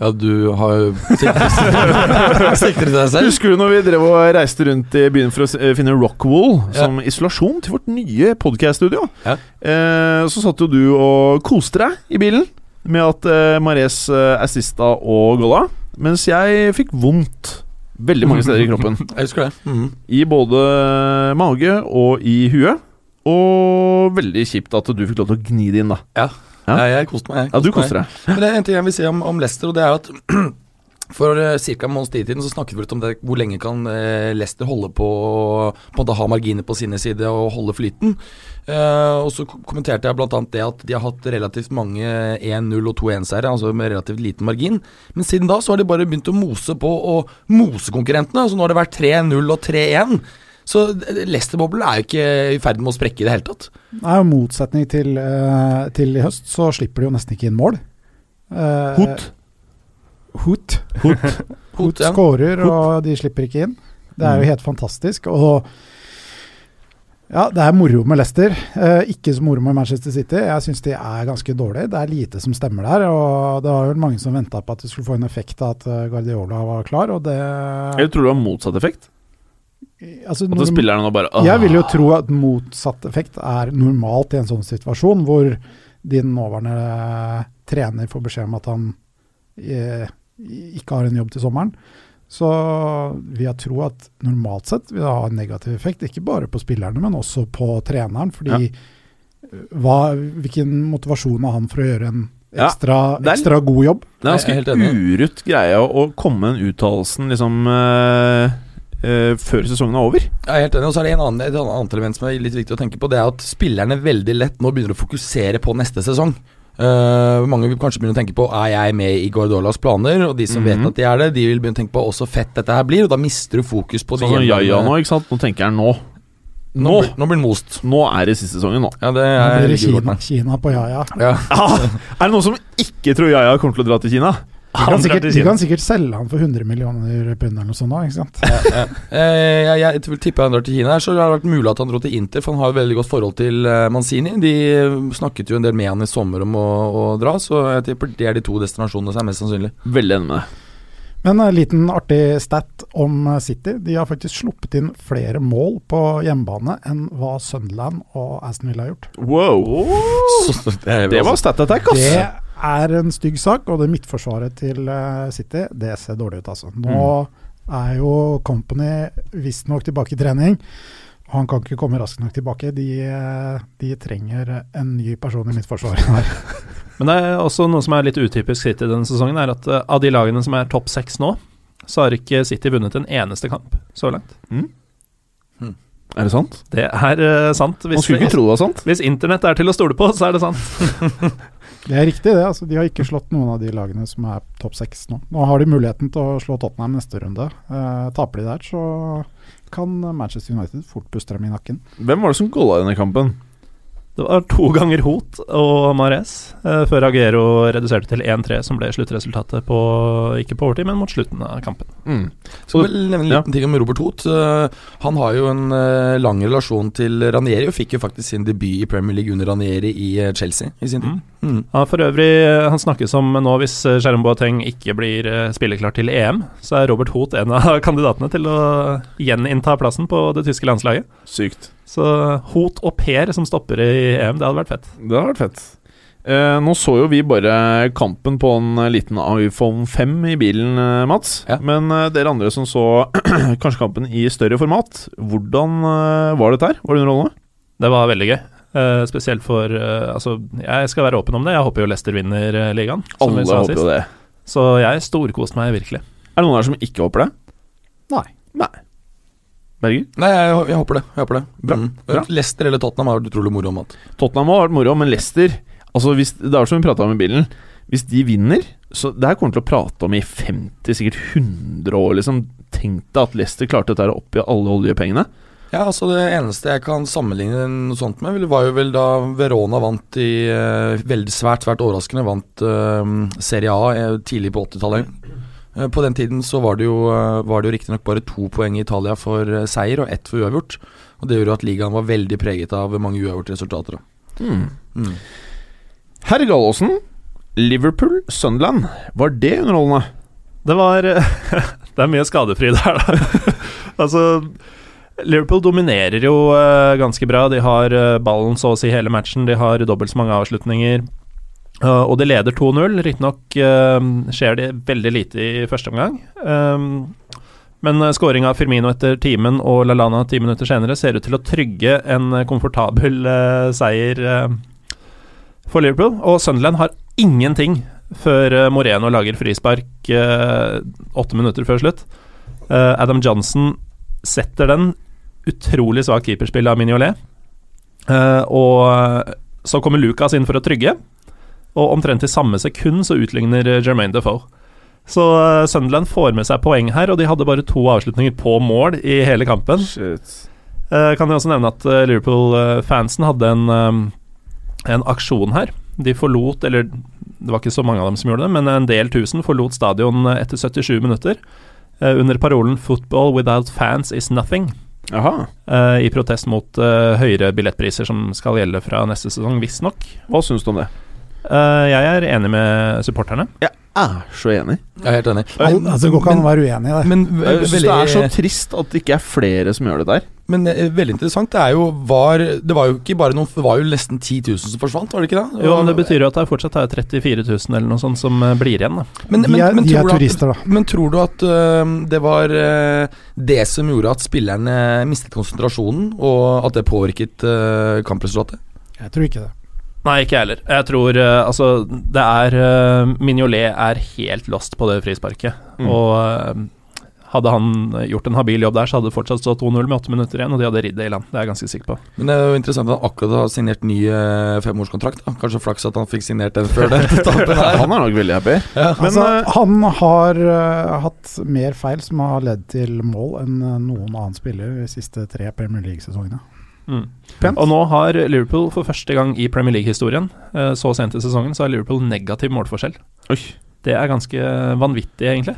S6: Ja, du har jo siktet til deg selv.
S3: Husker du når vi drev og reiste rundt i byen for å s- eh, finne Rockwool
S6: Ja.
S3: som isolasjon til vårt nye podcast-studio?
S6: Ja.
S3: Eh, så satt jo du og koste deg i bilen med at eh, Mares eh, assista og golla, mens jeg fikk vondt veldig mange steder i kroppen.
S6: Jeg husker det. Mhm.
S3: I både mage og i huet. Og veldig kjipt at du fikk lov til å gni det inn, da. Ja.
S6: Nei, jeg koste meg. Jeg
S3: Ja, du
S6: meg.
S3: koste deg.
S6: Men det er en ting jeg vil si om, om Leicester, og det er at for uh, ca. en måneds tid siden så snakket vi litt om det, hvor lenge kan eh, Leicester holde på å på en måte ha marginer på sine side og holde flyten. Eh, og så ko- kommenterte jeg bl.a. det at de har hatt relativt mange 1-0 og 2-1-seire, altså med relativt liten margin. Men siden da så har de bare begynt å mose på og mose konkurrentene. Så nå har det vært 3-0 og 3-1. Så eh, Leicester-boblen er jo ikke i ferd med å sprekke i det hele tatt.
S5: Nei, og motsetning til, eh, til i høst, så slipper de jo nesten ikke inn mål. Eh,
S3: Hot.
S5: Hoot. Hoot
S6: ja.
S5: skårer, og de slipper ikke inn. Det
S3: Mm.
S5: er jo helt fantastisk. Og ja, det er moro med Leicester. Eh, ikke så moro med Manchester City. Jeg syns de er ganske dårlige. Det er lite som stemmer der. Og det var vel mange som venta på at det skulle få en effekt av at eh, Guardiola var klar, og det
S3: Jeg tror det var motsatt effekt.
S5: altså,
S3: At
S5: når-
S3: spillerne nå bare
S5: jeg vil jo tro at motsatt effekt er normalt i en sånn situasjon, hvor din nåværende eh, trener får beskjed om at han eh, ikke har en jobb til sommeren. Så vil jeg tro at normalt sett vil det ha en negativ effekt, ikke bare på spillerne, men også på treneren. Fordi hva, hvilken motivasjon har han for å gjøre en
S3: Ja,
S5: ekstra,
S3: det er-
S5: ekstra god jobb?
S3: Det
S6: Jeg
S3: er
S6: er helt
S3: ganske urutt greie å- å komme med den uttalelsen liksom eh, eh, før sesongen er over.
S6: Jeg er helt enig, og så er det en annen, et annet- annet element som er litt viktig å tenke på. Det er at spillerne veldig lett nå begynner å fokusere på neste sesong. Eh, mange vil kanskje begynne å tenke på Er jeg med i Guardiolas planer. Og de som
S3: Mhm.
S6: vet at de er det, de vil begynne å tenke på også fett dette her blir. Og da mister du fokus på de
S3: Sånn som
S6: gjenværende-
S3: Jaja nå, ikke sant. Nå tenker han nå.
S6: Nå,
S3: Nå.
S6: blir- nå blir den most.
S3: Nå er det siste sesongen, nå.
S6: Ja, det
S5: Nå
S6: er
S5: blir det
S6: ligger godt
S5: Kina, Kina
S6: med.
S5: på ja-ja.
S6: Ja.
S3: er det noen som ikke tror Jaja kommer til å dra til Kina?
S5: De kan,
S4: drar
S5: sikkert,
S4: til
S5: de
S4: Kina.
S5: kan sikkert selge han for 100 millioner pund eller noe sånt nå, ikke sant?
S6: Eh, jeg, jeg vil tippe han drar til Kina her, så det har vært mulig at han dro til Inter, for han har jo veldig godt forhold til eh, Mancini. De eh, snakket jo en del med han i sommer om å, å dra, så jeg tipper det er de to destinasjonene som er mest sannsynlig.
S3: Veldig enig med deg.
S5: Men en liten artig stat om eh, City. De har faktisk sluppet inn flere mål på hjemmebane enn hva Sunderland og Aston Villa har gjort.
S3: Wow.
S6: Så, det,
S3: Oh. Det var stat attack, ass.
S5: Det er en stygg sak, og det midtforsvaret til eh, City, det ser dårlig ut, altså. Nå er jo Company visstnok tilbake i trening. og Han kan ikke komme raskt nok tilbake. De, eh, de trenger en ny person i midtforsvaret her.
S4: Men det er også noe som er litt utypisk City denne sesongen, er at eh, av de lagene som er topp seks nå, så har ikke City vunnet en eneste kamp så langt.
S3: Er det sant?
S4: Det er eh, sant.
S3: Man
S4: Hvis,
S3: skulle ikke tro det var sant.
S4: hvis internett er til å stole på, så er det sant.
S5: Det er riktig, det. altså De har ikke slått noen av de lagene som er topp seks nå. Nå har de muligheten til å slå Tottenham neste runde. Eh, taper de der, så kan Manchester United fort puste dem i nakken.
S3: Hvem var det som golla i denne kampen?
S4: Det var to ganger Hot og Mares eh, før Aguero reduserte til 1-3, som ble sluttresultatet på ikke på overtid, men mot slutten av kampen.
S3: Mm.
S6: Skal vel nevne en liten ting om Robert Hoth. Eh, Han har jo en eh, lang relasjon til Ranieri, og fikk jo faktisk sin debut i Premier League under Ranieri i eh, Chelsea i sin tid. Mm.
S4: Ja, for øvrig, eh, han snakkes om nå hvis eh, Jerome Boateng ikke blir eh, spilleklar til EM, så er Robert Hot en av kandidatene til å gjeninnta plassen på det tyske landslaget.
S3: Sykt.
S4: Så Hot og Per som stopper i EM, det hadde vært fett.
S3: Det hadde vært fett. Eh, nå så jo vi bare kampen på en eh, liten iPhone 5 i bilen, eh, Mats.
S6: Ja.
S3: Men eh, dere andre som så kanskje kampen i større format, hvordan eh, var dette her? Var det underholdende?
S4: Det var veldig gøy. Eh, spesielt for eh, Altså, jeg skal være åpen om det. Jeg håper jo Leicester vinner eh, ligaen. som vi
S3: Alle
S4: sa
S3: håper
S4: sist.
S3: jo det.
S4: Så jeg storkoste meg virkelig.
S3: Er det noen her som ikke håper det?
S5: Nei.
S3: Nei. Berger?
S6: Nei, jeg, jeg håper det. Jeg håper det. Mm.
S3: bra.
S6: Leicester eller Tottenham har vært utrolig moro om at
S3: Tottenham har vært moro, men Leicester altså hvis, Det er jo som vi prata om i bilen. Hvis de vinner så Det her kommer vi til å prate om i 50, sikkert 100 år. liksom Tenk deg at Leicester klarte dette her oppi alle oljepengene.
S6: Ja, altså Det eneste jeg kan sammenligne noe sånt med, vil- var jo vel da Verona vant i eh, veldig svært svært overraskende vant eh, Serie A eh, tidlig på 80-tallet. Eh, på den tiden så var det jo, eh, var det jo riktignok bare to poeng i Italia for eh, seier og ett for uavgjort. Og Det gjorde jo at ligaen var veldig preget av mange uavgjorte resultater. da. Mm.
S3: Herr Gallaasen, Liverpool, Sunderland. Var det underholdende?
S4: Det var Det er mye skadefri der, da. altså Liverpool dominerer jo eh, ganske bra. De har eh, ballen så å si hele matchen. De har dobbelt så mange avslutninger. Eh, og de leder 2-0. Riktignok uh, skjer det veldig lite i første omgang. Um, men eh, scoring av Firmino etter timen og LaLana ti minutter senere ser ut til å trygge en eh, komfortabel eh, seier eh, for Liverpool. Og Sunderland har ingenting før eh, Moreno lager frispark eh, åtte minutter før slutt. Eh, Adam Johnson setter den. Utrolig svakt keeperspill av Mignolet. Eh, og eh, så kommer Lucas inn for å trygge, og omtrent i samme sekund så utligner eh, Jermaine Defoe. Så eh, Sunderland får med seg poeng her, og de hadde bare to avslutninger på mål i hele kampen. Eh, kan jeg også nevne at eh, Liverpool-fansen hadde en, eh, en aksjon her. De forlot, eller det var ikke så mange av dem som gjorde det, men en del tusen forlot stadion eh, etter 77 minutter eh, under parolen 'Football without fans is nothing'
S3: Jaha.
S4: eh, i protest mot eh, høyere billettpriser som skal gjelde fra neste sesong, visstnok.
S3: Hva syns du om det?
S4: Eh, jeg er enig med supporterne.
S3: Jeg er så enig.
S6: Jeg er helt enig.
S5: Al- Altså, det går ikke an å være uenig i det.
S6: Men, ve-
S3: Jeg syns det
S6: veldig-
S3: er så trist at det ikke er flere som gjør det der.
S6: Men eh, veldig interessant. Det er jo var Det var jo ikke bare noen Det var jo nesten 10 000 som forsvant, var det ikke det?
S4: Jo, men Det betyr jo at det er fortsatt er 34 000 eller noe sånt som eh, blir igjen. da
S6: Men-
S5: de er,
S6: men- men
S5: de
S6: tror
S5: er
S6: du at-
S5: turister, da.
S6: Men tror du at eh, det var eh, det som gjorde at spillerne mistet konsentrasjonen, og at det påvirket eh, kampresultatet?
S5: Jeg tror ikke det.
S4: Nei, ikke jeg heller. Jeg tror eh, Altså, det er eh, Mignolet er helt lost på det frisparket.
S3: Mm.
S4: Og eh, hadde han gjort en habil jobb der, så hadde det fortsatt stått 2-0 med åtte minutter igjen, og de hadde ridd det i land. Det er jeg ganske sikker på.
S6: Men det er jo interessant at han akkurat har signert ny eh, femårskontrakt. Da. Kanskje flaks at han fikk signert den før den tapet her.
S3: Han er nok veldig happy. Men,
S5: altså,
S3: eh,
S5: han har eh, hatt mer feil som har ledd til mål enn eh, noen annen spiller de siste tre Premier League-sesongene.
S6: Mm.
S4: Og nå har Liverpool for første gang i Premier League-historien, eh, så sent i sesongen, så har Liverpool negativ målforskjell.
S3: Oi.
S4: Det er ganske vanvittig, egentlig.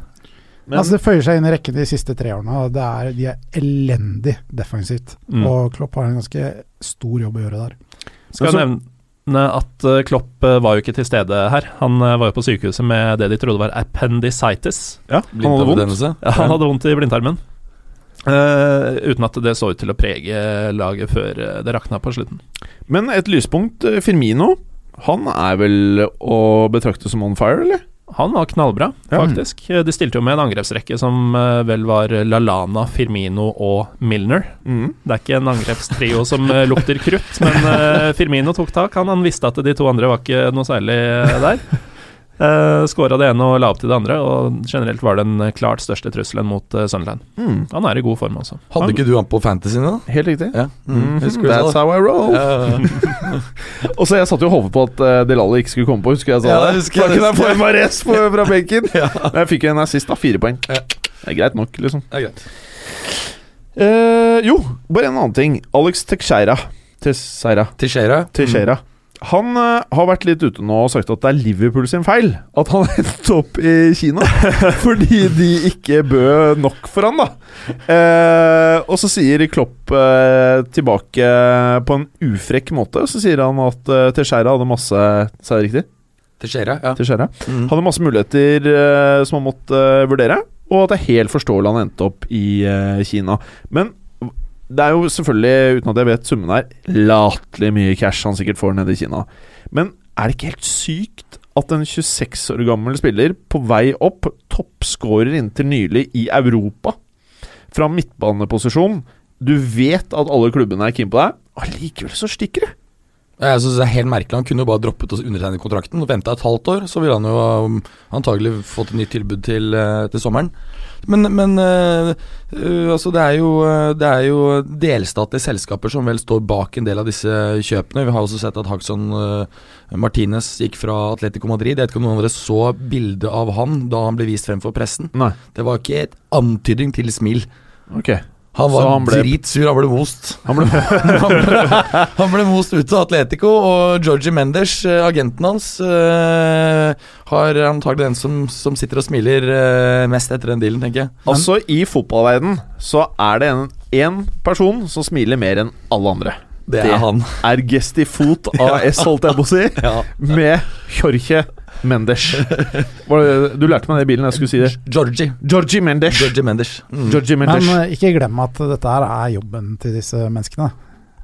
S3: Men
S5: altså, det føyer seg inn i rekken de siste tre årene. og Det er, de er elendig defensivt.
S4: Mm.
S5: Og Klopp har en ganske stor jobb å gjøre der.
S4: Skal
S3: Men
S4: nevne at eh, Klopp eh, var jo ikke til stede her. Han eh, var jo på sykehuset med det de trodde var appendicitis.
S3: ja, han hadde vondt.
S6: Blindtarmbetennelse.
S4: Ja, han hadde vondt i blindtarmen. Eh, uten at det så ut til å prege laget før eh, det rakna på slutten.
S3: Men et lyspunkt, eh, Firmino. Han er vel å betrakte som on fire, eller?
S4: Han var knallbra,
S3: Ja.
S4: faktisk. Eh, De stilte jo med en angrepsrekke som eh, vel var Lalana, Firmino og Milner.
S3: Mm.
S4: Det er ikke en angrepstrio som eh, lukter krutt, men eh, Firmino tok tak. Han, han visste at de to andre var ikke noe særlig eh, der. Uh, Skåra det ene og la opp til det andre, og generelt var den eh, klart største trusselen mot uh, Sunderland.
S3: Mm.
S4: Han er i god form, altså.
S6: Hadde ikke du han på fantasyen da?
S3: Helt riktig.
S6: Ja. Mm,
S3: Mhm,
S6: Husker du
S3: That's
S6: det?
S3: how I roll.
S6: Ja,
S3: Og så jeg satt jo og håpet på at uh, Delali ikke skulle komme på, husker jeg sa
S6: Ja,
S3: det?
S6: det husker jeg.
S3: Da kunne jeg få en Mares på, fra benken.
S6: Ja.
S3: Men jeg fikk en assist, da. Fire poeng.
S6: Ja.
S3: Det er greit nok, liksom.
S6: det er greit.
S3: Eh, jo, bare en annen ting. Alex Teixeira Teixeira.
S6: Teixeira.
S3: Teixeira. Han eh, har vært litt ute nå og sagt at det er Liverpool sin feil at han endte opp i Kina. fordi de ikke bød nok for han, da. Eh, og så sier Klopp eh, tilbake på en ufrekk måte Så sier han at eh, Teixeira hadde masse Sa jeg det riktig?
S6: Teixeira, ja.
S3: Teixeira
S6: Mm.
S3: Hadde masse muligheter eh, som han måtte eh, vurdere, og at det er helt forståelig han endte opp i eh, Kina. Men det er jo selvfølgelig, uten at jeg vet summen her, latterlig mye cash han sikkert får nede i Kina. Men er det ikke helt sykt at en 26 år gammel spiller på vei opp, toppskårer inntil nylig i Europa, fra midtbaneposisjon Du vet at alle klubbene er keen på deg, allikevel så stikker det.
S6: Jeg synes det er helt merkelig Han kunne jo bare droppet å undertegne kontrakten og venta et halvt år, så ville han jo um, antagelig fått et nytt tilbud til, eh, til sommeren. Men, men eh, eh, altså det, er jo, eh, det er jo delstatlige selskaper som vel står bak en del av disse kjøpene. Vi har også sett at Hagson Martinez gikk fra Atletico Madrid. Jeg vet ikke om noen av dere så bildet av han da han ble vist frem for pressen.
S3: Nei.
S6: Det var ikke et antydning til smil.
S3: Ok.
S6: Han
S3: Så
S6: var
S3: han ble-
S6: dritsur, han ble most.
S3: Han ble
S6: han, ble, han ble most ut av Atletico, og Georgie Mendes, eh, agenten hans, eh, har antagelig den som, som sitter og smiler eh, mest etter den dealen, tenker jeg.
S3: Altså, i fotballverden så er det en, en person som smiler mer enn alle andre.
S6: Det er han.
S3: Er Gestifot AS, holdt jeg på å si, med Jorge Mendes. Var det, du lærte meg det i bilen, jeg skulle si det.
S6: Georgie.
S3: Georgie Mendes.
S6: Georgie Mendes. Mm.
S3: Georgie Mendes.
S5: Men eh, ikke glem at dette her er jobben til disse menneskene.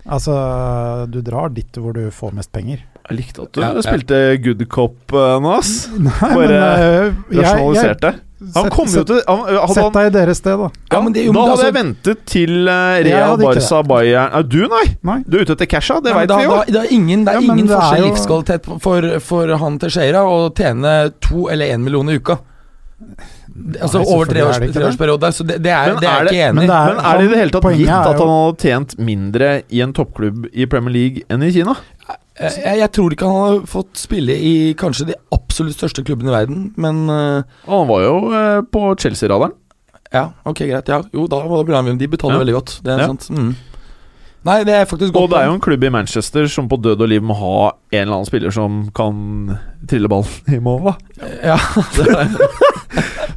S5: Altså, du drar dit hvor du får mest penger.
S3: Jeg likte at du
S6: Ja, ja.
S3: spilte good cop eh, nå, ass.
S5: Nei,
S3: Bare
S5: eh, jeg- jeg-
S3: Rasjonaliserte. Han
S5: sett-
S3: kom jo
S5: sett-
S3: til han, eh, hadde
S5: Sett
S3: han,
S5: deg i deres sted, da.
S6: Ja, men det,
S3: Da
S6: jo, men det,
S3: hadde jeg
S6: altså,
S3: ventet til eh, Real
S5: Jeg hadde ikke
S3: Barca Bayern Nei, Du, nei!
S5: Nei.
S3: Du er ute etter casha, det
S6: ja, men
S3: veit
S6: da-
S3: vi jo.
S6: da- Det er ingen, det er
S5: Ja, men
S6: ingen
S5: det er
S6: forskjell i
S5: jo-
S6: livskvalitet for, for han til Sheira å tjene to eller én million i uka. Det-
S5: Nei,
S6: Altså over
S5: selvfølgelig er det
S6: treårs-
S5: ikke det.
S6: treårsperiode. Så det, det er,
S3: Men
S6: det er
S3: er
S6: jeg ikke
S5: Men
S6: enig i.
S5: det er,
S3: Men er det i det hele tatt
S5: poenget
S3: gitt
S5: er
S3: at
S5: jo-
S3: han hadde tjent mindre i en toppklubb i Premier League enn i Kina?
S6: Jeg, Eh, jeg- jeg tror ikke han har fått spille i kanskje de absolutt største klubbene i verden, men eh,
S3: Og han var jo eh, på Chelsea-radaren.
S6: ja, ok, greit. Ja, jo, da var det bra. De betaler
S3: Ja.
S6: veldig godt. Det er
S3: Ja.
S6: sant. Mm. Nei, det er faktisk
S3: Og
S6: godt.
S3: det er jo en klubb i Manchester som på død og liv må ha en eller annen spiller som kan trille ballen i mål, da.
S6: Ja, det er,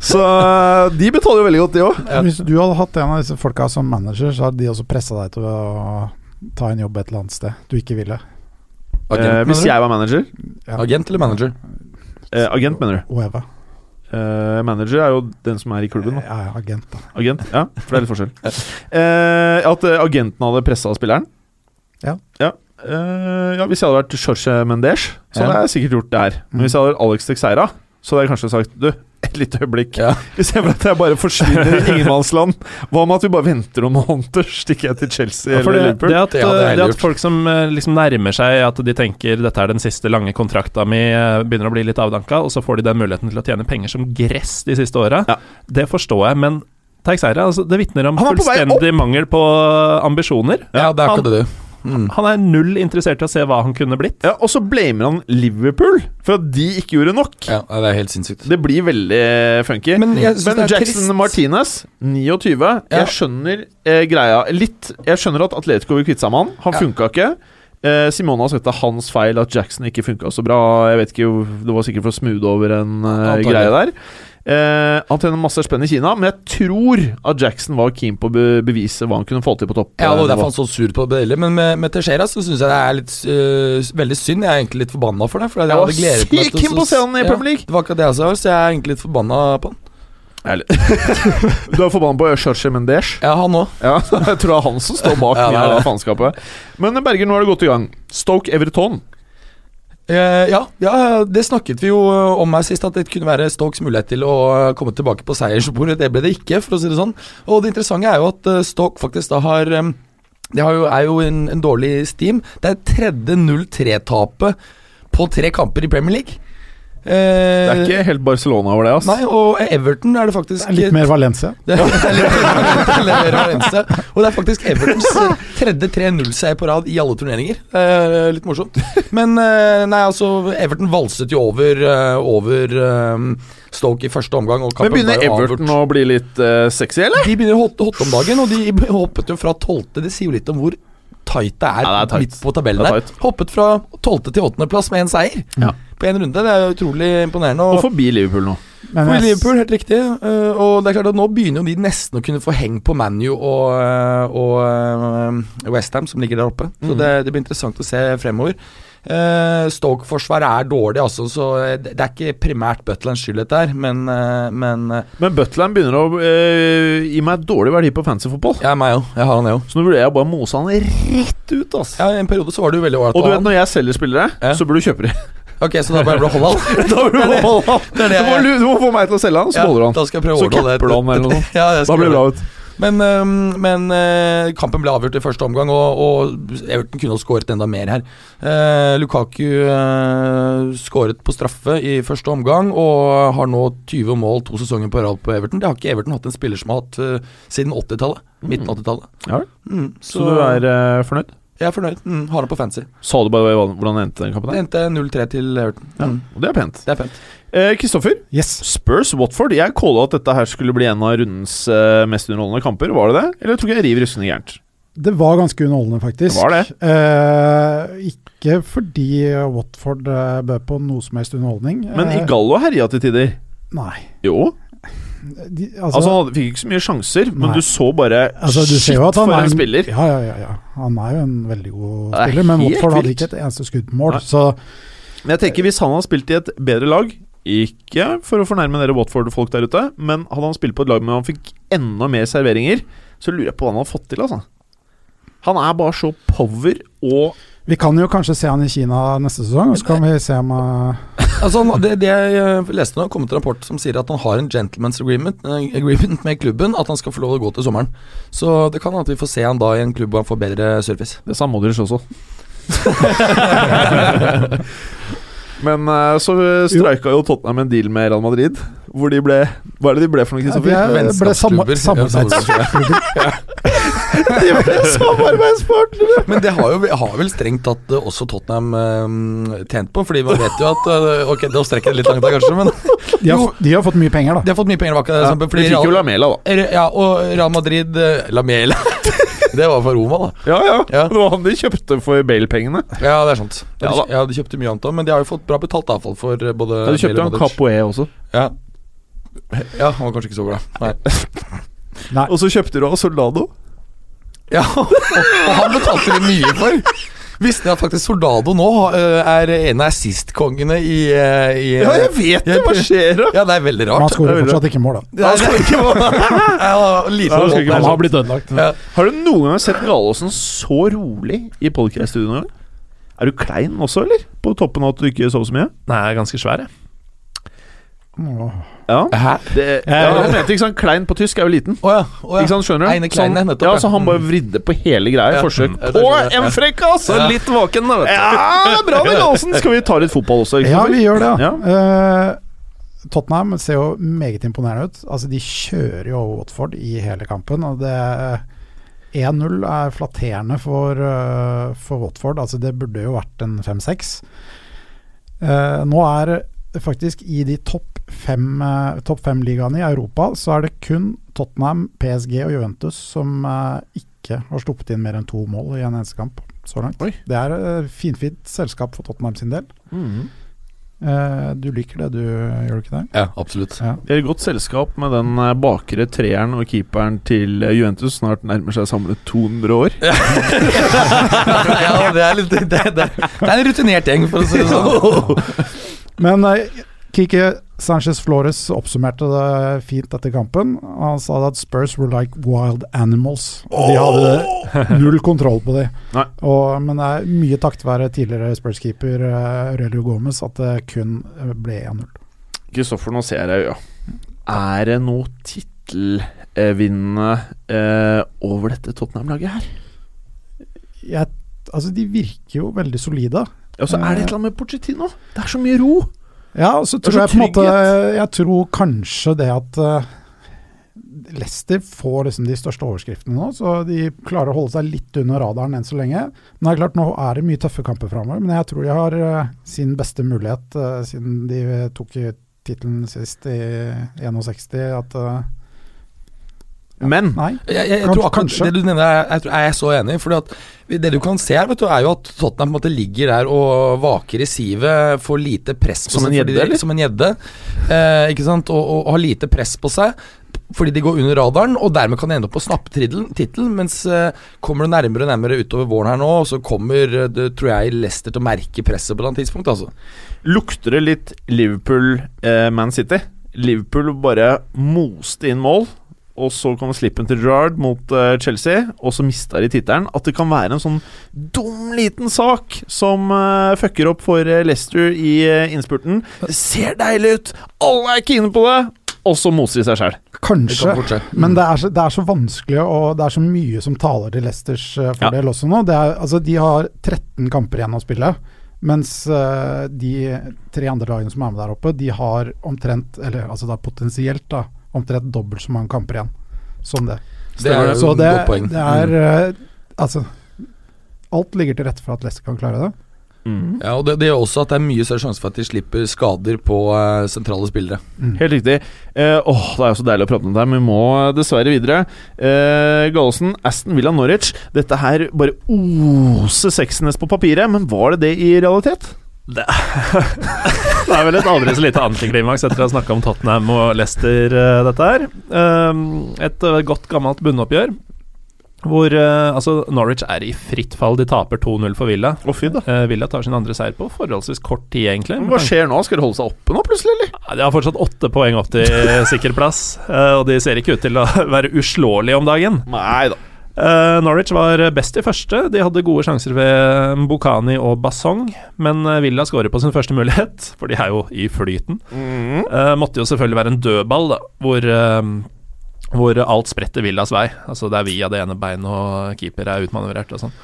S3: Så eh, de betaler jo veldig godt, de òg.
S6: Ja.
S5: Hvis du hadde hatt en av disse folka som manager, så hadde de også pressa deg til å ta en jobb et eller annet sted du ikke ville.
S3: Eh,
S6: agent,
S3: hvis jeg var manager
S5: Ja.
S6: agent eller manager?
S3: eh, Agent, mener du.
S5: Whoever.
S3: Eh, manager er jo den som er i klubben. da
S5: Jeg er agent, da.
S3: Agent, ja, for det er litt forskjell. Eh, at eh, agenten hadde pressa spilleren?
S5: Ja.
S3: Ja. Eh, ja, Hvis jeg hadde vært Jorge Mendes, så
S5: Ja.
S3: hadde jeg sikkert gjort det her. Men
S4: Mm.
S3: hvis jeg hadde vært Alex Texeira, så hadde jeg kanskje sagt Du, et lite øyeblikk.
S6: Ja.
S3: Istedenfor at jeg bare forsvinner i ingenmannsland. Hva med at vi bare venter noen måneder? Stikker jeg til Chelsea
S4: Ja, for
S3: eller
S4: det, det,
S3: Liverpool?
S4: at,
S6: Det hadde jeg
S4: eh, det
S6: gjort.
S4: at folk som eh, liksom nærmer seg at de tenker dette er den siste lange kontrakta mi, eh, begynner å bli litt avdanka, og så får de den muligheten til å tjene penger som gress de siste åra,
S3: Ja.
S4: det forstår jeg, men Teixeira, altså, det vitner om
S3: Han er på vei
S4: fullstendig mangel på ambisjoner.
S6: Ja, det er
S4: han,
S6: akkurat det. Mm.
S4: han er null interessert i å se hva han kunne blitt.
S3: Ja, og så blamer han Liverpool for at de ikke gjorde nok.
S6: Ja, nei, det er helt sinnssykt.
S3: Det blir veldig funky.
S6: Men
S3: Men,
S6: jeg synes det er
S3: Jackson
S6: trist.
S3: Martinez, 29
S6: Ja.
S3: Jeg skjønner eh, greia litt. Jeg skjønner at Atletico vil kvitte seg med han. Han
S6: Ja.
S3: funka ikke. Eh, Simone har sagt det er hans feil at Jackson ikke funka så bra. Jeg vet ikke, Det var sikkert for å smoothe over en eh,
S6: Antagelig.
S3: greie der. Eh, han tjener masse spenn i Kina, men jeg tror at Jackson var keen på å be bevise hva han kunne få til på topp.
S6: Ja, det
S3: eh,
S6: var
S3: nivå.
S6: derfor han så sur på Bedelle. Men med, med Teixeira så syns jeg det er litt øh, veldig synd. Jeg er egentlig litt forbanna for det. For jeg,
S3: Jeg var
S6: hadde gledet meg
S3: sykt
S6: til
S3: keen på å se han i Premier League.
S6: Ja, det var akkurat det jeg sa, så jeg er egentlig litt forbanna på han.
S3: Du er forbanna på Jorge Mendes.
S6: Ja, han òg.
S3: Ja, jeg tror det er han som står bak
S6: Ja, det
S3: mye
S6: er
S3: av
S6: det.
S3: faenskapet. Men eh, Berger, nå er det godt i gang. Stoke Everton.
S6: Eh, ja, ja, det snakket vi jo eh, om her sist, at det kunne være Stokes mulighet til å eh, komme tilbake på seiersbordet. Det ble det ikke, for å si det sånn. Og det interessante er jo at eh, Stoke faktisk da har eh, Det har jo, er jo en, en dårlig steam. Det er tredje 0-3-tapet på tre kamper i Premier League.
S3: Det er
S6: Eh,
S3: ikke helt Barcelona over det, ass.
S6: Nei, og Everton er det faktisk
S5: Det er litt mer Valencia.
S6: Det er litt mer- litt mer Valencia. Og det er faktisk Evertons tredje 3-0-seier på rad i alle turneringer. Eh, litt morsomt. Men eh, nei, altså Everton valset jo over, eh, over eh, Stoke i første omgang. Og
S3: Men
S6: kampen
S3: begynner
S6: ble jo avgjort.
S3: Everton å bli litt eh, sexy, eller?
S6: De begynner å hotte, hotte om dagen, og de hoppet jo fra tolvte. Det sier jo litt om hvor tight det er,
S3: Ja, det er tight.
S6: midt på tabellen
S3: Det er
S6: der.
S3: tight.
S6: Hoppet fra tolvte til åttendeplass med én seier
S3: Ja.
S6: på én runde. Det er jo utrolig imponerende.
S3: Og forbi Liverpool nå.
S5: Men
S6: For
S5: jeg-
S6: Liverpool, helt riktig. Eh, og det er klart at nå begynner jo de nesten å kunne få heng på ManU og, eh, og eh, West Ham som ligger der oppe. Så det, det blir interessant å se fremover. Eh, Stoke-forsvaret er dårlig, altså, så det, det er ikke primært Butlands skyld, dette her. Men, eh, men eh,
S3: Men Butland begynner å eh, gi meg dårlig verdi på fancyfotball.
S6: jeg er meg òg. Jeg har han, jeg òg.
S3: Så nå burde jeg bare mose han rett ut, ass.
S6: Ja, I en periode så var det jo veldig
S3: Og
S6: ålreit
S3: du
S6: å ha
S3: vet
S6: han.
S3: når jeg selger spillere,
S6: Ja.
S3: så burde du kjøpe dem.
S6: Ok, Så da bare blir det Holland?
S3: da burde du
S6: det-
S3: beholde han.
S6: det er det
S3: Du må,
S6: jeg-
S3: lu- du må få meg til å selge han, så beholder du han.
S6: da skal jeg prøve å
S3: Så
S6: ordne det.
S3: capper du han eller noe sånt.
S6: Ja, jeg skal
S3: Da blir det
S6: gjøre
S3: bra ut.
S6: Men, øhm, men øh, kampen ble avgjort i første omgang, og, og Everton kunne ha skåret enda mer her. Eh, Lukaku øh, skåret på straffe i første omgang, og har nå 20 mål to sesonger på rad på Everton. Det har ikke Everton hatt en spiller som har hatt øh, siden 80-tallet. Midten av 80-tallet.
S3: Ja vel.
S6: Mm,
S3: Så du er eh, fornøyd?
S6: Jeg er fornøyd. Mm, har det på fancy.
S3: Sa du bare hva- hvordan endte den kampen?
S6: Det
S3: her?
S6: endte 0-3 til Everton.
S3: Ja,
S6: Mm,
S3: og det er pent.
S6: det er pent.
S3: Eh, Kristoffer,
S5: Yes.
S3: Spurs Watford. Jeg calla at dette her skulle bli en av rundens eh, mest underholdende kamper. Var det det? Eller tror ikke jeg river russende gærent?
S5: Det var ganske underholdende,
S3: Det
S5: faktisk.
S3: var det.
S5: Eh, ikke fordi Watford eh, bød på noe som helst underholdning.
S3: Men
S5: Eh,
S3: Igallo herja til tider.
S5: Nei.
S3: Jo.
S5: De,
S3: Altså, han hadde- fikk ikke så mye sjanser, men
S5: Nei.
S3: du så bare
S5: Altså, du
S3: Shit,
S5: ser jo at han
S3: for
S5: er
S3: en spiller!
S5: Ja, ja, ja, ja. Han er jo en veldig god
S3: Det er
S5: spiller, men
S3: helt
S5: Watford hadde
S3: vilt.
S5: ikke et eneste skudd på mål.
S3: Nei.
S5: Så
S3: Men jeg tenker Hvis han hadde spilt i et bedre lag Ikke for å fornærme dere Watford-folk der ute, men hadde han spilt på et lag hvor han fikk enda mer serveringer, så lurer jeg på hva han hadde fått til. altså Han er bare så power og
S5: vi kan jo kanskje se han i Kina neste sesong, og så kan vi se om eh,
S6: Altså, han- det, det jeg eh, leste nå, kom til en rapport som sier at han har en gentleman's agreement, eh, agreement med klubben, at han skal få lov å gå til sommeren. Så det kan hende at vi får se han da i en klubb hvor han får bedre service.
S3: Det sa Modric også. Men eh, så streika jo Tottenham en deal med Real Madrid. Hvor de ble Hva er det de ble for noe,
S5: ja,
S3: Kristoffer?
S5: vi er-
S3: Eh,
S5: ble samme-
S6: Vennskapsklubber.
S5: samarbeidsklubber.
S3: de ble samarbeidspartnere!
S6: Men det har, jo, har vel strengt tatt eh, også Tottenham eh, tjent på, fordi man vet jo at eh, Ok, da strekker det litt langt da, kanskje, men
S5: De, har- de har fått mye penger,
S6: de har fått mye penger bak det.
S3: Ja,
S6: eksempel,
S3: de
S6: fordi
S3: fikk jo
S6: Real,
S3: Lamela, da.
S6: Re- ja, og Real Madrid eh, Lamela Det var for Roma, da.
S3: Ja, ja,
S6: Ja.
S3: Det var han de kjøpte for Bale-pengene.
S6: Ja, det er sant. Ja,
S3: Ja
S6: de, ja, de kjøpte mye annet òg, men de har jo fått bra betalt avfall for eh, både
S3: Ja, de kjøpte
S6: Bale og
S3: han
S6: Modric.
S3: Capoe også.
S6: Ja. ja, han var kanskje ikke så glad. Nei.
S5: da. Nei.
S3: Og så kjøpte du av Soldado.
S6: Ja, og, og han betalte de mye for. Visste dere at faktisk Soldado nå eh, er en av assist-kongene i, eh, i eh,
S3: Ja, jeg vet det! Hva skjer, da?
S6: Ja, det er veldig
S5: Men han
S6: rart.
S5: skårer
S3: det er veldig-
S5: fortsatt ikke mål, da.
S6: Nei, det er ikke ja, lite
S3: han skal ikke
S6: om-
S3: være
S5: Han har blitt ødelagt.
S6: Ja.
S3: Har du noen gang sett Galaasen så rolig i podcast-studio noen gang? Er du klein også, eller? På toppen av at du ikke sov så mye?
S4: Nei, jeg er ganske svær, jeg.
S5: Åh.
S3: Ja.
S6: Hæ?
S3: Det, ja, han mente ikke sånn klein på tysk er jo liten.
S6: Å ja. Å, ja.
S3: Ikke sant, skjønner du?
S6: Eine Kleine,
S3: Sånn-
S6: nettopp,
S3: ja,
S6: ja. Mm.
S3: så han bare vridde på hele greia i
S6: Ja.
S3: forsøk
S6: Mm. Ja, det
S3: på
S6: skjønner jeg.
S3: en frekkas!
S6: Ja.
S3: Litt våken, da, vet du. Ja, bra det, Galsen! Skal vi ta litt fotball også?
S5: Ja,
S3: Kristoffer?
S5: vi gjør det. Ja.
S3: Ja.
S5: Eh, Tottenham ser jo meget imponerende ut. Altså, de kjører jo over Watford i hele kampen. Og det 1-0 er flatterende for, eh, for Watford. Altså, det burde jo vært en 5-6. Eh, nå er faktisk i de topp fem, eh, topp fem ligaene i Europa, så er det kun Tottenham, PSG og Juventus som eh, ikke har sluppet inn mer enn to mål i en eneste kamp så langt.
S3: Oi.
S5: Det er eh, finfint selskap for Tottenham sin del.
S3: Mhm.
S5: Eh, du liker det, du gjør du ikke det?
S6: Ja, absolutt.
S3: Vi er i godt selskap med den eh, bakre treeren og keeperen til eh, Juventus. Snart nærmer seg samlet 200 år.
S6: ja, det er litt det, det, det er en rutinert gjeng, for å si det sånn.
S5: Men eh, Kiki Sanchez Flores oppsummerte det fint etter kampen. Han sa at Spurs were like wild animals. De hadde null kontroll på dem.
S3: Nei.
S5: Og, men det er mye takket være tidligere Spurs-keeper eh, Aurelio Gomez at det kun eh, ble 1-0.
S3: Kristoffer, nå ser jeg i øya. Er det noe tittelvinnende eh, over dette Tottenham-laget her?
S5: Jeg- Altså, de virker jo veldig solide.
S3: Ja, så Altså, er det et eller annet med Pochettino. Det er så mye ro.
S5: Ja, og så
S3: Det er
S5: tror jeg
S3: så
S5: på en måte
S3: trygghet.
S5: Jeg tror kanskje det at eh, Leicester får liksom de største overskriftene nå, så de klarer å holde seg litt under radaren enn så lenge. Men det er klart, nå er det mye tøffe kamper framover, men jeg tror de har eh, sin beste mulighet eh, siden de tok i tittelen sist i 61, at eh,
S3: Men
S5: Nei.
S6: Jeg, jeg, jeg
S5: Kanskje-
S6: tror akkurat
S5: kanskje.
S6: Det du nevner, er, jeg, tror, er jeg så enig i. Fordi at Det du kan se her, vet du, er jo at Tottenham på en måte ligger der og vaker i sivet, får lite press på
S3: Som
S6: seg.
S3: en
S6: fordi
S3: gjedde, eller?
S6: de, som en gjedde, eh, ikke sant? Og, og, og har lite press på seg. Fordi de går under radaren, og dermed kan de ende opp på snappetittelen. Mens eh, kommer du nærmere og nærmere utover våren her nå, så kommer, eh, det, tror jeg, Leicester til å merke presset på et eller annet tidspunkt. Altså.
S3: lukter det litt Liverpool-Man City. Liverpool bare moste inn mål, og så kom slippen til Gerrard mot eh, Chelsea, og så mista de tittelen. At det kan være en sånn dum liten sak som eh, fucker opp for eh, Leicester i eh, innspurten. Det ser deilig ut! Alle er keene på det!
S4: og så moser de seg sjøl.
S6: Det kan Mm.
S5: Kanskje.
S6: fort skje.
S5: Men det er, så, det er så vanskelig, og det er så mye som taler til Leicesters eh, fordel også nå. Det er, altså, de har 13 kamper igjen å spille, mens eh, de tre andre lagene som er med der oppe, de har omtrent, eller altså da potensielt, da, omtrent dobbelt så mange kamper igjen som det.
S6: Det er jo
S5: Så
S6: et
S5: det,
S6: godt poeng. Mm.
S5: det er eh, Altså, alt ligger til rette for at Leicester kan klare det.
S6: Ja, og det, det gjør også at det er mye større sjanse for at de slipper skader på eh, sentrale spillere.
S3: Helt riktig. Eh, åh, Det er jo så deilig å prate om det her, men vi må dessverre videre. Eh, Gallosen, Aston Villa Norwich. Dette her bare oser sexiness på papiret, men var det det i realitet?
S4: Det er vel et aldri så lite antiklimaks etter å ha snakka om Tottenham og Leicester, eh, dette her. Ehm, et eh, godt gammelt bunnoppgjør. Hvor eh, altså Norwich er i fritt fall. De taper 2-0 for Villa.
S3: Å, fy da.
S4: Eh, Villa tar sin andre seier på forholdsvis kort tid, egentlig.
S3: Hva skjer nå? Skal de holde seg oppe nå, plutselig, eller?
S4: Ja, De har fortsatt åtte poeng opp til sikker plass, eh, og de ser ikke ut til å være uslåelige om dagen.
S3: Nei da.
S4: Eh, Norwich var best i første. De hadde gode sjanser ved Bukhani og Basong, men eh, Villa skårer på sin første mulighet, for de er jo i flyten.
S3: Mhm.
S4: Eh, måtte jo selvfølgelig være en dødball, da, hvor, eh, hvor alt spretter Villas vei. Altså det er via det ene beinet, og keeper er utmanøvrert og sånn.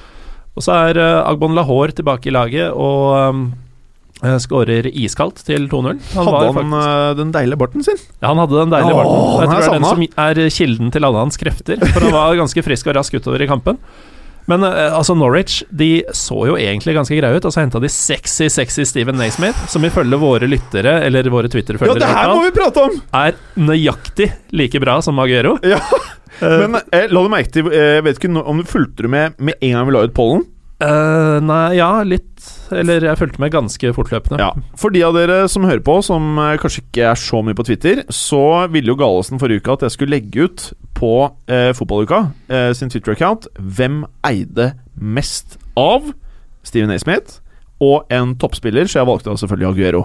S4: Og så er eh, Agbon Lahore tilbake i laget og eh, skårer iskaldt til 2-0. Han
S3: Hadde
S4: var
S3: han
S4: faktisk-
S3: eh, den deilige barten sin?
S4: ja, han hadde den deilige
S3: Åh,
S4: barten. Og Jeg
S3: den er
S4: tror det er den
S3: savna.
S4: som er kilden til alle hans krefter. For han var ganske frisk og rask utover i kampen. Men eh, altså Norwich de så jo egentlig ganske greie ut, og så henta de sexy, sexy Steven Naismith, som ifølge våre lyttere, eller våre
S3: Ja,
S4: Twitter-følgere,
S3: det
S4: i hvert
S3: her
S4: fall,
S3: må vi prate om!
S4: er nøyaktig like bra som Maguero.
S3: Ja, Men eh, la du merke til eh, Vet ikke nå- om du fulgte det med med en gang vi la ut pollen?
S4: Eh, nei, ja, litt Eller jeg fulgte med ganske fortløpende.
S3: Ja. For de av dere som hører på, som eh, kanskje ikke er så mye på Twitter, så ville jo Galesen forrige uke at jeg skulle legge ut på eh, Fotballuka eh, sin Twitter-account hvem eide mest av Steven Naismith og en toppspiller, så jeg valgte da selvfølgelig Aguero.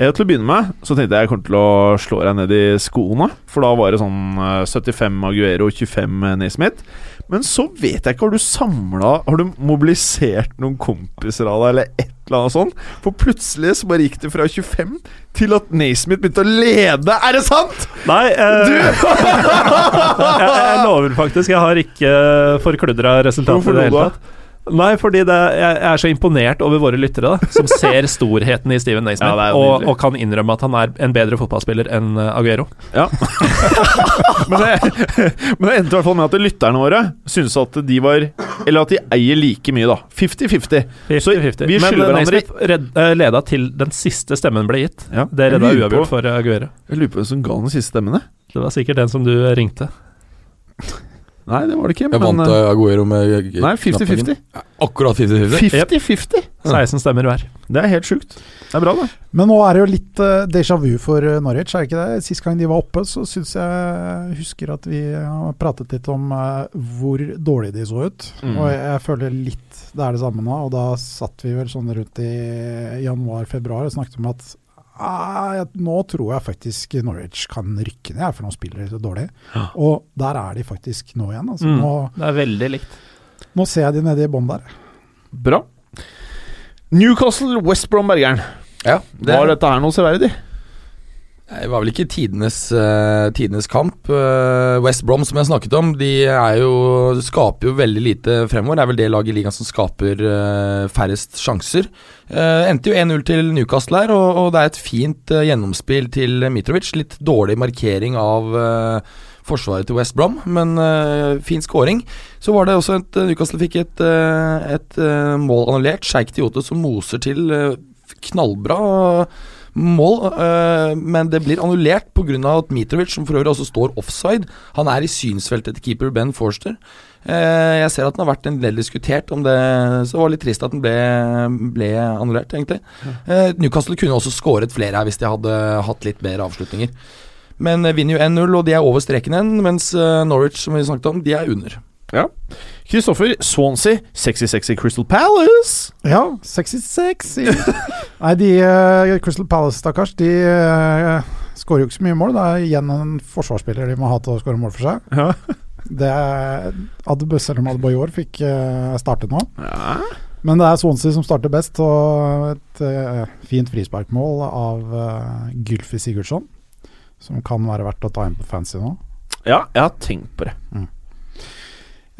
S3: Eh, til å begynne med så tenkte jeg jeg kommer til å slå deg ned i skoene, for da var det sånn eh, 75 Aguero, 25 Naismith. Men så vet jeg ikke, har du samla Har du mobilisert noen kompiser av deg, eller et eller annet sånt? For plutselig så bare gikk det fra 25 til at Naismith begynte å lede. Er det sant?!
S4: Nei, eh, jeg, jeg lover faktisk, jeg har ikke forkludra resultatet
S3: Hvorfor
S4: i det
S3: lo
S4: hele
S3: du?
S4: tatt. Nei, fordi det, jeg, jeg er så imponert over våre lyttere, da, som ser storheten i Steven Naismith,
S3: Ja, det er jo
S4: og,
S3: nydelig.
S4: og kan innrømme at han er en bedre fotballspiller enn eh, Aguero.
S3: Ja. men, det, men det endte i hvert fall med at lytterne våre syntes at de var Eller at de eier like mye, da. 50-50. Så
S4: 50-50.
S3: vi
S4: Men
S3: skylder
S4: eh,
S3: hverandre-
S4: Naismith redd, eh, leda til den siste stemmen ble gitt.
S3: Ja.
S4: Det redda
S3: Jeg lurer på-
S4: uavgjort for eh, Aguero.
S3: Jeg lurer på hvem som ga den siste stemmen, jeg.
S4: Det var sikkert den som du ringte.
S3: Nei, det var det ikke.
S6: Jeg
S3: Men,
S6: vant
S3: eh,
S6: eh, Aguero med
S3: nei, 50-50.
S6: Akkurat 50-50.
S3: 50-50.
S4: 16 stemmer hver.
S3: Det er helt sjukt. Det er bra, det.
S5: Men nå er det jo litt eh, déjà vu for eh, Norwich, er det ikke det? Sist gang de var oppe, så syns jeg eh, husker at vi har pratet litt om eh, hvor dårlig de så ut.
S3: Mm.
S5: Og jeg, jeg føler litt det er det samme nå. Og da satt vi vel sånn rundt i januar-februar og snakket om at ah, jeg- nå tror jeg faktisk Norwich kan rykke ned, for nå spiller de så dårlig. Og der er de faktisk nå igjen. Altså.
S4: Mm.
S5: Nå,
S4: Det er veldig likt.
S5: nå ser jeg de nede i bånn der.
S3: Bra. Newcastle West Brom Bergeren.
S6: Ja, det,
S3: Var dette her noe severdig?
S6: Det var vel ikke tidenes, eh, tidenes kamp. Eh, West Brom, som jeg snakket om, de er jo, skaper jo veldig lite fremover. Det er vel det laget i ligaen som skaper eh, færrest sjanser. Eh, endte jo 1-0 til Newcastle her, og, og det er et fint eh, gjennomspill til Mitrovic. Litt dårlig markering av eh, forsvaret til West Brom, men eh, fin scoring. Så var det også et Newcastle fikk et, eh, et eh, mål annullert. Sheikh Diote som moser til eh, knallbra mål, eh, men det blir annullert pga. at Mitrovic, som for øvrig også står offside, han er i synsfeltet til keeper Ben Forster. Eh, jeg ser at den har vært en del diskutert om det, så det var litt trist at den ble, ble annullert, egentlig. Eh, Newcastle kunne også skåret flere her hvis de hadde hatt litt bedre avslutninger. Men eh, vinner jo 1-0, og de er over streken igjen, mens eh, Norwich, som vi snakket om, de er under.
S3: Kristoffer Swansea, sexy, sexy Crystal Palace.
S5: Ja, sexy, sexy. Nei, de eh, Crystal Palace, stakkars, de uh, skårer jo ikke så mye mål. Det er igjen en forsvarsspiller de må ha til å skåre mål for seg.
S3: Ja.
S5: Det er- Adb, selv om Adebayor fikk eh, starte nå.
S3: Ja.
S5: Men det er Swansea som starter best, og et eh, fint frisparkmål av uh, Gylfi eh, Sigurdsson. som kan være verdt å ta inn på fancy nå.
S3: Ja, jeg har tenkt på det.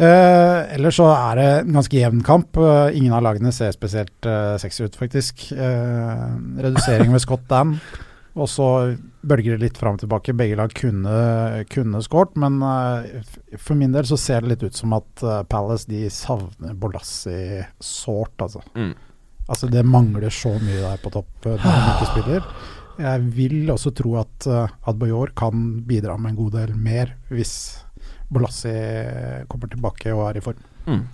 S5: Eh, ellers så er det en ganske jevn kamp. Eh, ingen av lagene ser spesielt eh, sexy ut, faktisk. Eh, redusering ved Scott Dan, og så bølger det litt fram og tilbake. Begge lag kunne, kunne skåret, men eh, f- for min del så ser det litt ut som at eh, Palace de savner Bolassi sårt, altså.
S3: Mm.
S5: Altså, det mangler så mye der på topp eh, når han ikke spiller. Jeg vil også tro at eh, Adebayor kan bidra med en god del mer hvis Bolassi kommer tilbake og er i form.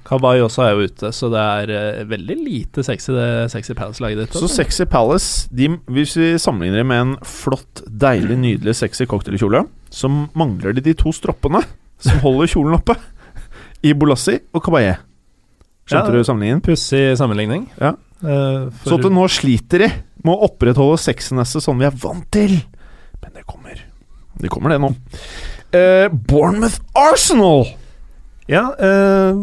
S4: Kabay også er jo ute, så det er eh, veldig lite sexy det sexy Palace-laget ditt.
S3: Så
S4: altså.
S3: Sexy Palace, de, hvis vi sammenligner det med en flott, deilig, nydelig sexy cocktailkjole, så mangler de de to stroppene som holder kjolen oppe. I Bolassi og Kabaye. Skjønte
S4: Ja.
S3: du sammenligningen?
S4: Pussig sammenligning.
S3: Ja.
S4: Eh, for,
S3: Så at det nå sliter de med å opprettholde sexinesse som vi er vant til. Men det kommer. Det kommer, det nå. Eh, Bournemouth Arsenal!
S4: Ja, eh,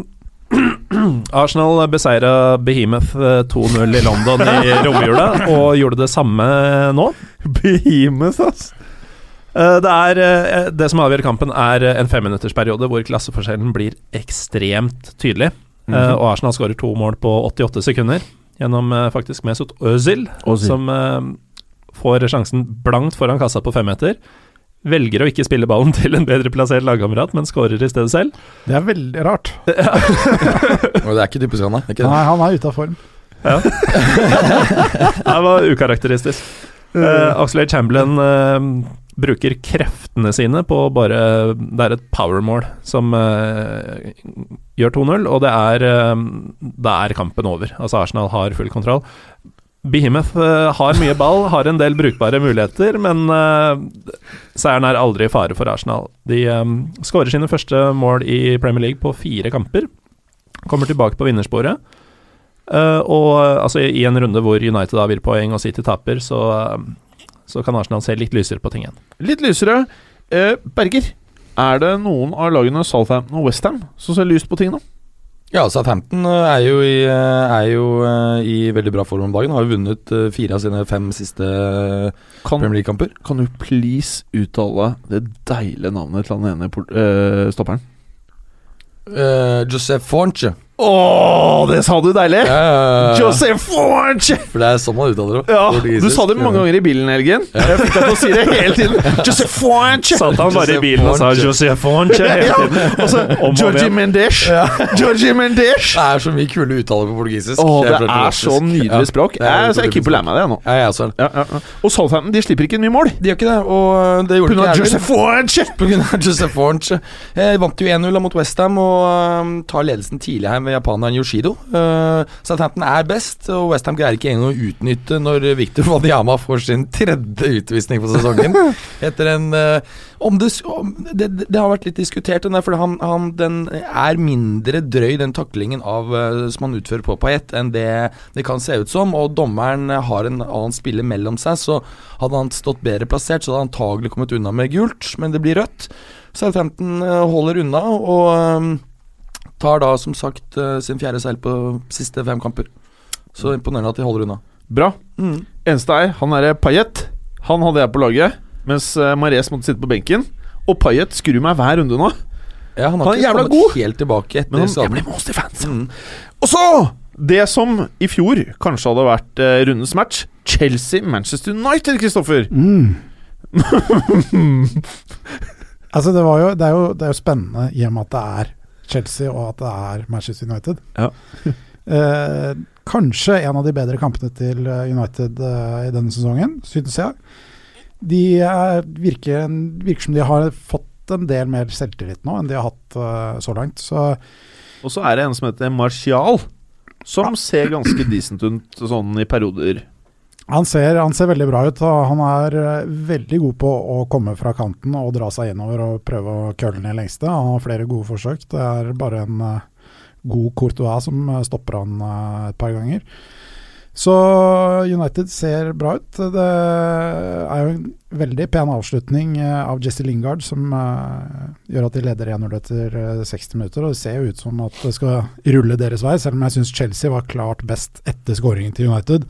S4: Arsenal beseira Behemoth eh, 2-0 i London i romjula, og gjorde det samme nå.
S3: Behemoth, ass.
S4: Eh, Det, er, eh, det som avgjør kampen, er eh, en femminuttersperiode hvor klasseforskjellen blir ekstremt tydelig. Eh,
S3: Mhm.
S4: Og Arsenal skårer to mål på 88 sekunder gjennom eh, faktisk Mesut Özil,
S3: Som-
S4: som eh, får sjansen blankt foran kassa på femmeter. Velger å ikke spille ballen til en bedre plassert lagkamerat, men skårer i stedet selv.
S5: Det er veldig rart.
S6: Og det er ikke typisk han, da. Det er ikke
S5: Nei, han er ute av form.
S4: Det var ukarakteristisk. Uh, Oxlade Chamberlain eh, bruker kreftene sine på bare Det er et powermål som eh, gjør 2-0, og det er eh, Da er kampen over. Altså, Arsenal har full kontroll. Behemoth eh, har mye ball, har en del brukbare muligheter, men eh, seieren er aldri i fare for Arsenal. De eh, skårer sine første mål i Premier League på fire kamper. Kommer tilbake på vinnersporet. Eh, og eh, altså, i i en runde hvor United avgir poeng og City taper, så, eh, så kan Arsenal se litt lysere på ting igjen.
S3: Litt lysere. Eh, Berger, er det noen av lagene Southampton og Westham som ser lyst på ting nå?
S6: Ja, Southampton eh, er jo, i, eh, er jo eh, i veldig bra form om dagen. Har jo vunnet eh, fire av sine fem siste eh,
S3: Kan,
S6: Premier League-kamper.
S3: kan du please uttale det deilige navnet til han ene port- eh, stopperen?
S6: Eh, Josef Fonche.
S3: Å, det sa du deilig!
S6: Eh,
S3: Joseph Forge!
S6: For det er sånn man uttaler det.
S3: Ja,
S6: Portugisisk.
S3: du sa det mange ganger i bilen, Helgen. Jeg fikk deg til å si det hele tiden. Joseph Forge!
S4: Satt han bare i bilen og sa Josef Fonche hele
S3: Ja,
S4: tiden?
S3: og så
S4: Om og
S3: Georgie
S4: om igjen.
S3: Mendesh. Georgie Mendesh!
S6: Det er så mye kule uttaler på portugisisk.
S3: Å,
S6: Jeg
S3: det
S6: prøver
S3: er
S6: portugisisk.
S3: så nydelig språk.
S6: det er
S3: Jeg, så jeg er keen på å lære meg det, jeg nå.
S6: Ja, jeg også er
S3: Ja,
S6: det.
S3: ja, ja. Og Southampton de slipper ikke eh, en ny mål.
S6: De gjør ikke det, og det
S3: Pga.
S6: gjorde ikke jeg heller.
S3: Joseph Forge!
S6: På grunn av Josef Orange. Eh, vant jo 1-0 mot Westham og eh, tar ledelsen tidlig her med japaneren Yoshido. Eh, Southampton er best, og Westham greier ikke engang å utnytte når Victor Wanyama får sin tredje utvisning på sesongen. Etter en eh, om det, s- om, det, det det har vært litt diskutert, den der, for han, han, den er mindre drøy, den taklingen av, eh, som han utfører på Payet, enn det det kan se ut som. Og dommeren eh, har en annen spiller mellom seg, så hadde han stått bedre plassert, så hadde han antagelig kommet unna med gult, men det blir rødt. Southampton eh, holder unna, og eh, tar da som sagt eh, sin fjerde seil på siste fem kamper. Så imponerende at de holder unna.
S3: Bra.
S6: Mm.
S3: Eneste er, han er Payet. Han hadde jeg på laget, mens eh, Mares måtte sitte på benken. Og Payet skrur meg hver runde nå.
S6: Ja, han
S3: Han
S6: har
S3: er
S6: ikke
S3: jævla
S6: kommet
S3: god!
S6: helt tilbake
S3: Men
S6: etter
S3: han, jeg
S6: skaden.
S3: blir monster fans.
S6: Mm.
S3: Og så det som i fjor kanskje hadde vært eh, rundens match. Chelsea-Manchester United, Kristoffer.
S5: Altså, det, var jo, det, er jo, det er jo spennende i og med at det er Chelsea og at det er Manchester United.
S3: Ja.
S5: eh, kanskje en av de bedre kampene til eh, United eh, i denne sesongen, synes jeg. De eh, virker, en- virker som de har fått en del mer selvtillit nå enn de har hatt eh, så langt. Så
S3: Og så er det en som heter Martial, som ser ganske decent ut sånn i perioder.
S5: Han ser, han ser veldig bra ut. og Han er eh, veldig god på å komme fra kanten og dra seg innover og prøve å køle ned lengste. Han har flere gode forsøk. Det er bare en eh, god Courtois som eh, stopper han eh, et par ganger. Så United ser bra ut. Det er jo en veldig pen avslutning eh, av Jesse Lingard som eh, gjør at de leder 1-0 etter eh, 60 minutter. Og det ser jo ut som at det skal rulle deres vei, selv om jeg syns Chelsea var klart best etter skåringen til United.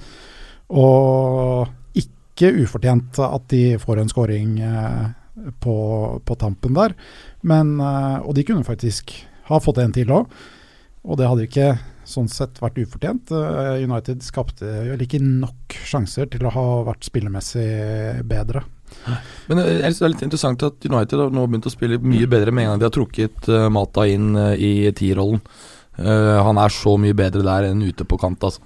S5: Og ikke ikke ufortjent at de får en scoring eh, på, på tampen der. Men, eh, og de kunne faktisk ha fått en til òg, og det hadde ikke sånn sett vært ufortjent. Eh, United skapte vel ikke nok sjanser til å ha vært spillemessig bedre.
S6: Men eh, jeg synes det er litt interessant at United har nå begynt å spille mye bedre med en gang de har trukket eh, Mata inn eh, i tierrollen. Eh, han er så mye bedre der enn ute på kant, altså.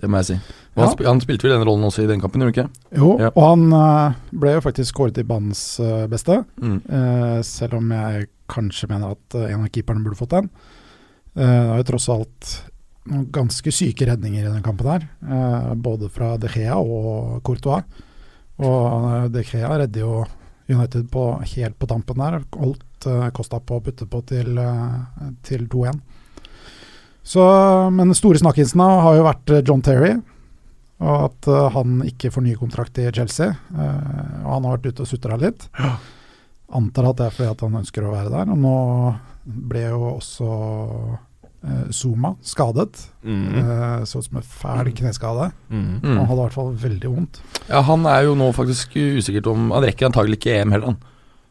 S6: Det må jeg si. Og han,
S5: Ja.
S6: sp han spilte vel den rollen også i den kampen, gjorde han ikke?
S5: Jo,
S6: Ja.
S5: og han eh, ble jo faktisk skåret i banens eh, beste.
S6: Mm.
S5: Eh, selv om jeg kanskje mener at eh, en av keeperne burde fått den. Eh, det var jo tross alt noen ganske syke redninger i den kampen her, eh, både fra De Gea og Courtois. Og eh, De Gea redder jo United på, helt på tampen der. Holdt eh, Costa på å putte på til, eh, til 2-1. Så, eh, men den store snakkisen da har jo vært eh, John Terry. Og at eh, han ikke får ny kontrakt i Chelsea. Eh, og han har vært ute og sutra litt. Antar at det er fordi at han ønsker å være der. Og nå ble jo også eh, Zuma skadet.
S4: Mm.
S5: Eh, så ut som en fæl kneskade.
S4: Mm.
S6: Mm.
S5: Han hadde i hvert fall veldig vondt.
S6: Ja, han er jo nå faktisk usikkert om Han rekker antagelig ikke EM heller, han.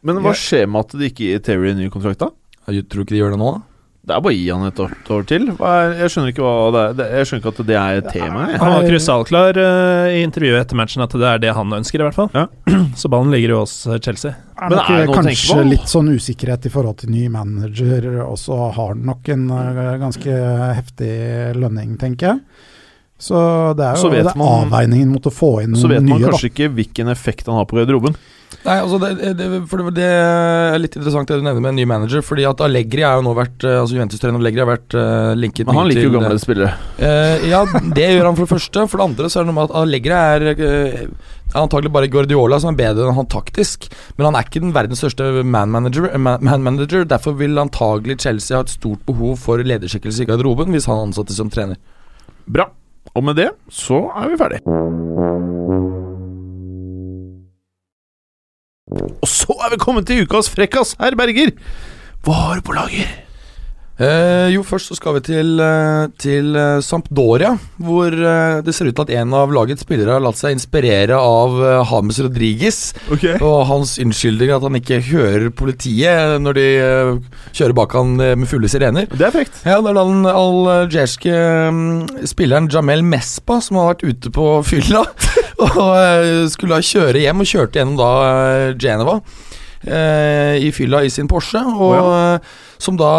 S3: Men hva skjer med at de ikke gir Terry en ny kontrakt, da?
S6: Jeg tror ikke de gjør det nå, da.
S3: Det er bare å gi han et år, et år til. Hva er, jeg skjønner ikke hva det er det- Jeg skjønner ikke at det er et tema. Jeg.
S4: Han var krystallklar eh, i intervjuet etter matchen at det er det han ønsker, i hvert fall.
S3: Ja.
S4: Så ballen ligger jo hos eh, Chelsea.
S5: Er
S3: Men
S5: nok, eh,
S3: er det noe å tenke
S5: kanskje
S3: på?
S5: litt sånn usikkerhet i forhold til ny manager, og så har han nok en eh, ganske heftig lønning, tenker jeg. Så det er jo
S3: Så vet
S5: det er
S3: man-
S5: avveiningen mot å få inn
S3: Så vet
S5: noen
S3: man
S5: nye, da.
S3: kanskje ikke hvilken effekt han har på garderoben.
S6: Nei, altså det, det, for det, det er litt interessant det du nevner med en ny manager. Fordi at Allegri er jo nå vært eh, Altså Juventus-trener Allegri har vært eh, linket
S3: Men han
S6: mye
S3: liker jo
S6: til-
S3: gamle spillere.
S6: Eh, ja, det gjør han for det første. For det andre så er det noe med at Allegri er eh, antagelig bare Guardiola som er bedre enn han taktisk. Men han er ikke den verdens største man-manager. Man eh, man manager. derfor vil antagelig Chelsea ha et stort behov for lederskikkelse i garderoben hvis han ansatte som trener.
S3: Bra. Og med det så er vi ferdig. Og så er vi kommet til ukas frekkas, herr Berger. Hva har du på lager?
S6: Eh, jo, først så skal vi til, eh, til eh, Sampdoria, hvor eh, det ser ut til at en av lagets spillere har latt seg inspirere av eh, James Rodriguez og hans unnskyldning at han ikke hører politiet når de eh, kjører bak han eh, med fulle sirener.
S3: Det er frekt.
S6: Ja, det er den algeriske mm, spilleren Jamel Mespa som har vært ute på fylla. Og eh, skulle da kjøre hjem, og kjørte gjennom da eh, Genova. eh, I fylla i sin Porsche, og eh, som da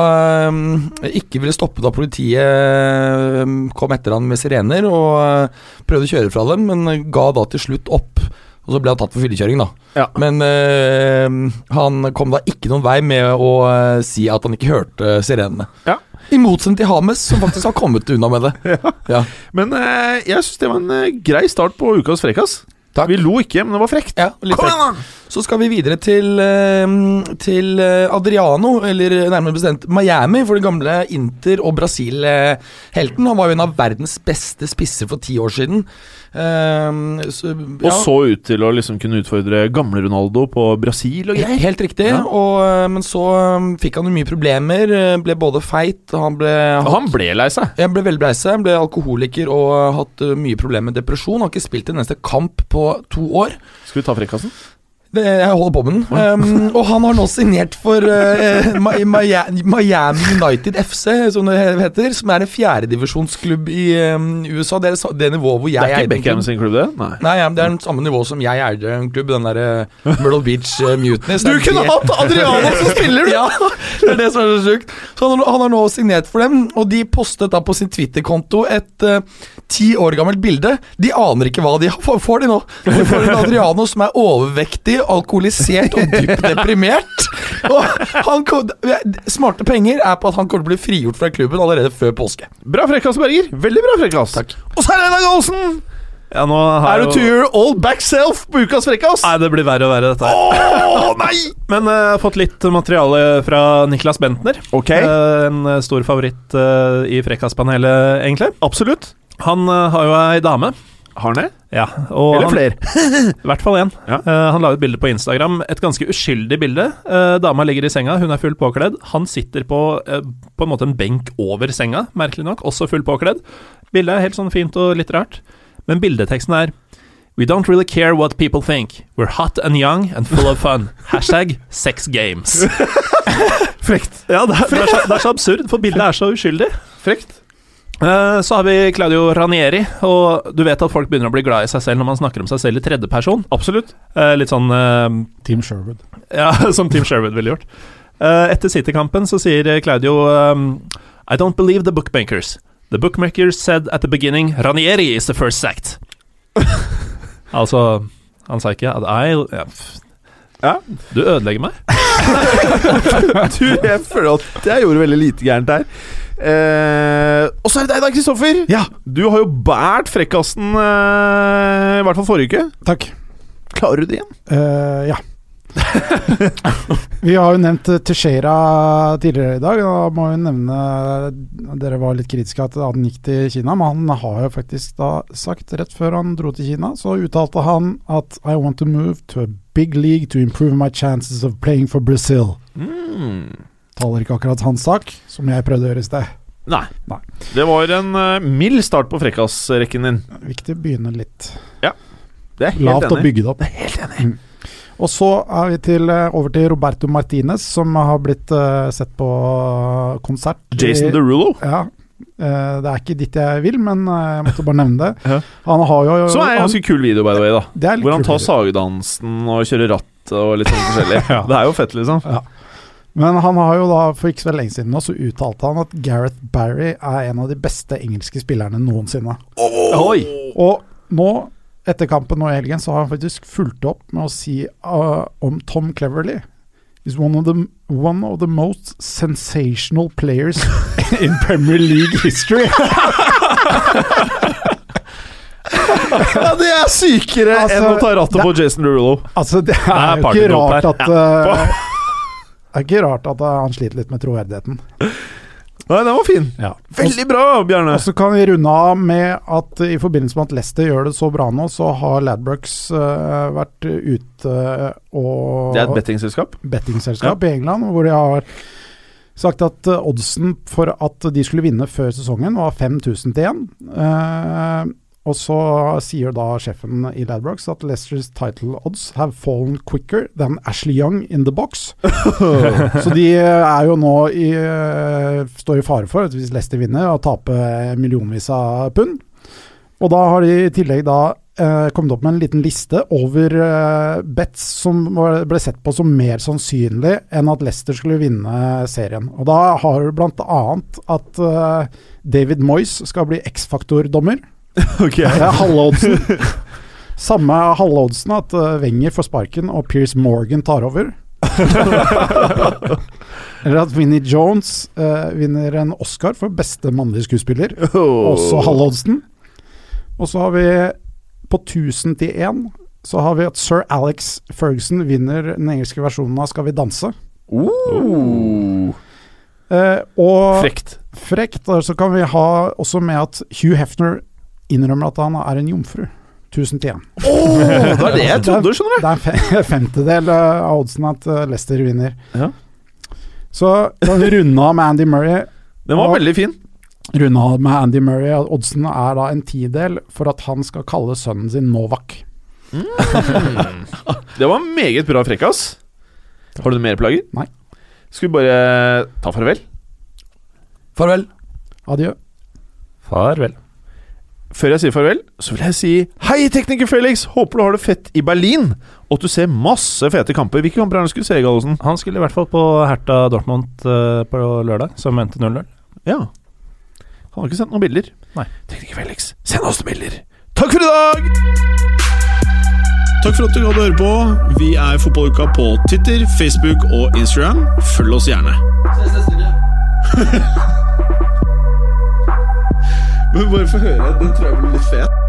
S6: eh, ikke ville stoppe da politiet eh, kom etter han med sirener og eh, prøvde å kjøre fra dem, men ga da til slutt opp. Og så ble han tatt for fyllekjøring, da.
S3: Ja.
S6: Men eh, han kom da ikke noen vei med å eh, si at han ikke hørte sirenene.
S3: Ja.
S6: I motsetning til Hames, som faktisk har kommet unna med det. Ja.
S3: Men eh, jeg syns det var en eh, grei start på ukas frekkas.
S6: Takk.
S3: Vi lo ikke, men det var frekt.
S6: Ja, litt
S3: Kom
S6: frekk.
S3: igjen, da!
S6: Så skal vi videre til, eh, til eh, Adriano, eller nærmere bestemt Miami, for den gamle Inter- og Brasil-helten. Han var jo en av verdens beste spisser for ti år siden. Eh, så, ja.
S3: Og så ut til å liksom kunne utfordre gamle Ronaldo på Brasil og
S6: He-
S3: greier.
S6: Helt riktig,
S3: Ja.
S6: og, eh, men så eh, fikk han jo mye problemer. eh, Ble både feit, han ble
S3: Og han ble lei seg.
S6: Jeg ble velbreise, ble alkoholiker og har hatt eh, mye problemer med depresjon. Har ikke spilt en eneste kamp på to år.
S3: Skal vi ta frekkasen?
S6: Det, jeg holder på med den. Ehm, og han har nå signert for eh, Mi- Mi- Miami United FC, som det heter. Som er en fjerdedivisjonsklubb i ehm, USA. Det er det sa- det nivået hvor jeg
S3: Det er ikke
S6: eide en klubb.
S3: Beckham sin klubb, det? Nei.
S6: Nei, ja, men det er den samme nivå som jeg eide en klubb, den derre Myrtle Beach eh, Mutiny. så
S3: Du
S6: det er
S3: kunne
S6: det-
S3: hatt Adriano som spiller, du!
S6: ja, det er det som er så sjukt. Så han, han har nå signert for dem, og de postet da på sin Twitter-konto et eh, ti år gammelt bilde. De aner ikke hva de har- får, får de nå. De får en Adriano som er overvektig, alkoholisert og dypt deprimert. Og han, kom- smarte penger er på at han kommer til å bli frigjort fra klubben allerede før påske.
S3: Bra frekkas, Berger. Veldig bra frekkas. Takk. Og så er det Einar Galsen!
S4: Ja, nå har
S3: Er du
S4: jo-
S3: to your old back self på ukas frekkas?
S4: Nei, det blir verre og verre, dette her.
S3: Å, nei!
S4: Men eh, jeg har fått litt materiale fra Niklas Bentner.
S3: Ok,
S4: Eh, en eh, stor favoritt eh, i Frekkaspanelet, egentlig.
S3: absolutt.
S4: Han eh, har jo ei dame.
S3: Har han det?
S4: Ja, og
S3: Eller
S4: han,
S3: flere?
S4: i hvert fall én.
S3: Ja.
S4: Eh, han la ut bilde på Instagram. Et ganske uskyldig bilde. Eh, dama ligger i senga, hun er fullt påkledd. Han sitter på, eh, på en måte en benk over senga, merkelig nok, også fullt påkledd. Bildet er helt sånn fint og litt rart, men bildeteksten er We don't really care what people think. We're hot and young and full of fun. Hashtag sex games.
S3: Frekt.
S4: Ja, det er, det, er så, det er så absurd, for bildet er så uskyldig.
S3: Frekt.
S4: Eh, Så har vi Claudio Ranieri, og du vet at folk begynner å bli glad i seg selv når man snakker om seg selv i tredjeperson.
S3: Absolutt.
S4: Eh, Litt sånn eh,
S5: Team Sherwood.
S4: Ja, som Tim Sherwood ville gjort. Eh, etter City-kampen så sier eh, Claudio um, I don't believe the bookmakers. The bookmakers said at the beginning Ranieri is the first sacked. altså Han sa ikke at I ja. pff.
S3: Ja.
S4: Du ødelegger meg.
S3: Du, jeg føler at jeg gjorde veldig lite gærent der. Eh, og så er det deg da, Kristoffer.
S5: Ja.
S3: Du har jo båret frekkasen, eh, i hvert fall forrige uke.
S5: Takk.
S3: Klarer du det igjen?
S5: Eh, ja. vi har jo nevnt eh, Teixeira tidligere i dag. og Da må vi nevne eh, Dere var litt kritiske at han gikk til Kina, men han har jo faktisk da sagt, rett før han dro til Kina, så uttalte han at I want to move to a big league to improve my chances of playing for Brazil.
S3: Hmm.
S5: Taler ikke akkurat hans sak, som jeg prøvde å gjøre i sted.
S3: Nei.
S5: Nei.
S3: Det var en eh, mild start på frekkasrekken din.
S5: Viktig å begynne litt
S3: Det er jeg helt
S5: lavt og
S3: enig. i.
S5: bygge det opp. Mm.
S3: Det er jeg helt enig. i.
S5: Og så er vi til, eh, over til Roberto Martinez, som har blitt eh, sett på eh, konsert.
S3: Jason Derulo,
S5: Ja. eh, det er ikke dit jeg vil, men eh, jeg måtte bare nevne det.
S3: Ja.
S5: Han har jo
S3: som er en
S5: han-
S3: ganske kul video, by the way, da.
S5: det er litt
S3: Hvor han
S5: kult.
S3: tar sagdansen og kjører ratt og litt sånn forskjellig.
S5: Ja.
S3: Det er jo fett, liksom.
S5: Men han har jo da, for ikke så lenge siden nå, så uttalte han at Gareth Barry er en av de beste engelske spillerne noensinne.
S3: Oi!
S5: Og nå, etter kampen nå i helgen, så har han faktisk fulgt opp med å si eh, om Tom Cleverly. He's one of, the, one of the most sensational players in Premier League history.
S3: Ja, det er sykere
S5: Altså,
S3: enn å ta rattet
S5: det-
S3: på Jason Derulo.
S5: Altså, det
S4: er
S5: er jo ikke
S4: partydop
S5: rart
S4: her.
S5: at eh, Det er ikke rart at eh, han sliter litt med troverdigheten.
S3: Nei, den var fin. Veldig bra, Bjarne.
S5: Og så kan vi runde av med at eh, i forbindelse med at Leicester gjør det så bra nå, så har Ladbrokes eh, vært ute uh, og
S3: Det er et bettingselskap.
S5: bettingselskap i England, hvor de har sagt at eh, oddsen for at de skulle vinne før sesongen var 5000 til 1. og så sier da sjefen i Ladbrokes at Leicesters title odds have fallen quicker than Ashley Young in the box. så de eh, er jo nå i, eh, står i fare for, at hvis Leicester vinner, å tape millionvis av pund. Og da har de i tillegg da eh, kommet opp med en liten liste over eh, bets som var, ble sett på som mer sannsynlig enn at Leicester skulle vinne eh, serien. Og da har du blant annet at eh, David Moyes skal bli X-faktor-dommer.
S3: Ok.
S5: Det er halve oddsen. Samme er halve oddsen at eh, Wenger får sparken og Piers Morgan tar over. Eller at Vinnie Jones eh, vinner en Oscar for beste mannlige skuespiller
S3: Oh.
S5: også halve oddsen. Og så har vi på 1000 til 1 så har vi at sir Alex Ferguson vinner den engelske versjonen av Skal vi danse.
S3: Oh.
S5: Eh, og
S3: Frekt.
S5: frekt, og så kan vi ha også med at Hugh Hefner innrømmer at han er en jomfru. 1000 til 1.
S3: det var det jeg trodde, skjønner
S5: Det er en fe- femtedel eh, av oddsen at eh, Leicester vinner.
S3: Ja.
S5: Så kan vi runde av med Andy Murray.
S3: du. Den var
S5: Og-
S3: veldig fin.
S5: Runde av med Andy Murray. at Oddsen er da en tidel for at han skal kalle sønnen sin Novak.
S3: Det var meget bra frekkas. Har du noe mer plager?
S5: Nei.
S3: Skal vi bare ta farvel?
S6: Farvel.
S5: Adjø.
S4: Farvel.
S3: Før jeg sier farvel, så vil jeg si Hei, tekniker Felix! Håper du har det fett i Berlin, og at du ser masse fete kamper. Hvilke kamper er det du skulle se, Gallosen?
S4: Han skulle i hvert fall på Herta Dortmund eh, på lørdag, som endte 0-0.
S3: Ja. Han har ikke sendt noen bilder.
S4: Nei.
S3: Tekniker Felix, send oss noen bilder! Takk for i dag!
S1: Takk for at du hadde høre på. Vi er Fotballuka på Twitter, Facebook og Instagram. Følg oss gjerne.
S2: Ses neste uke.
S1: Men bare få høre. Den tror jeg blir litt fet.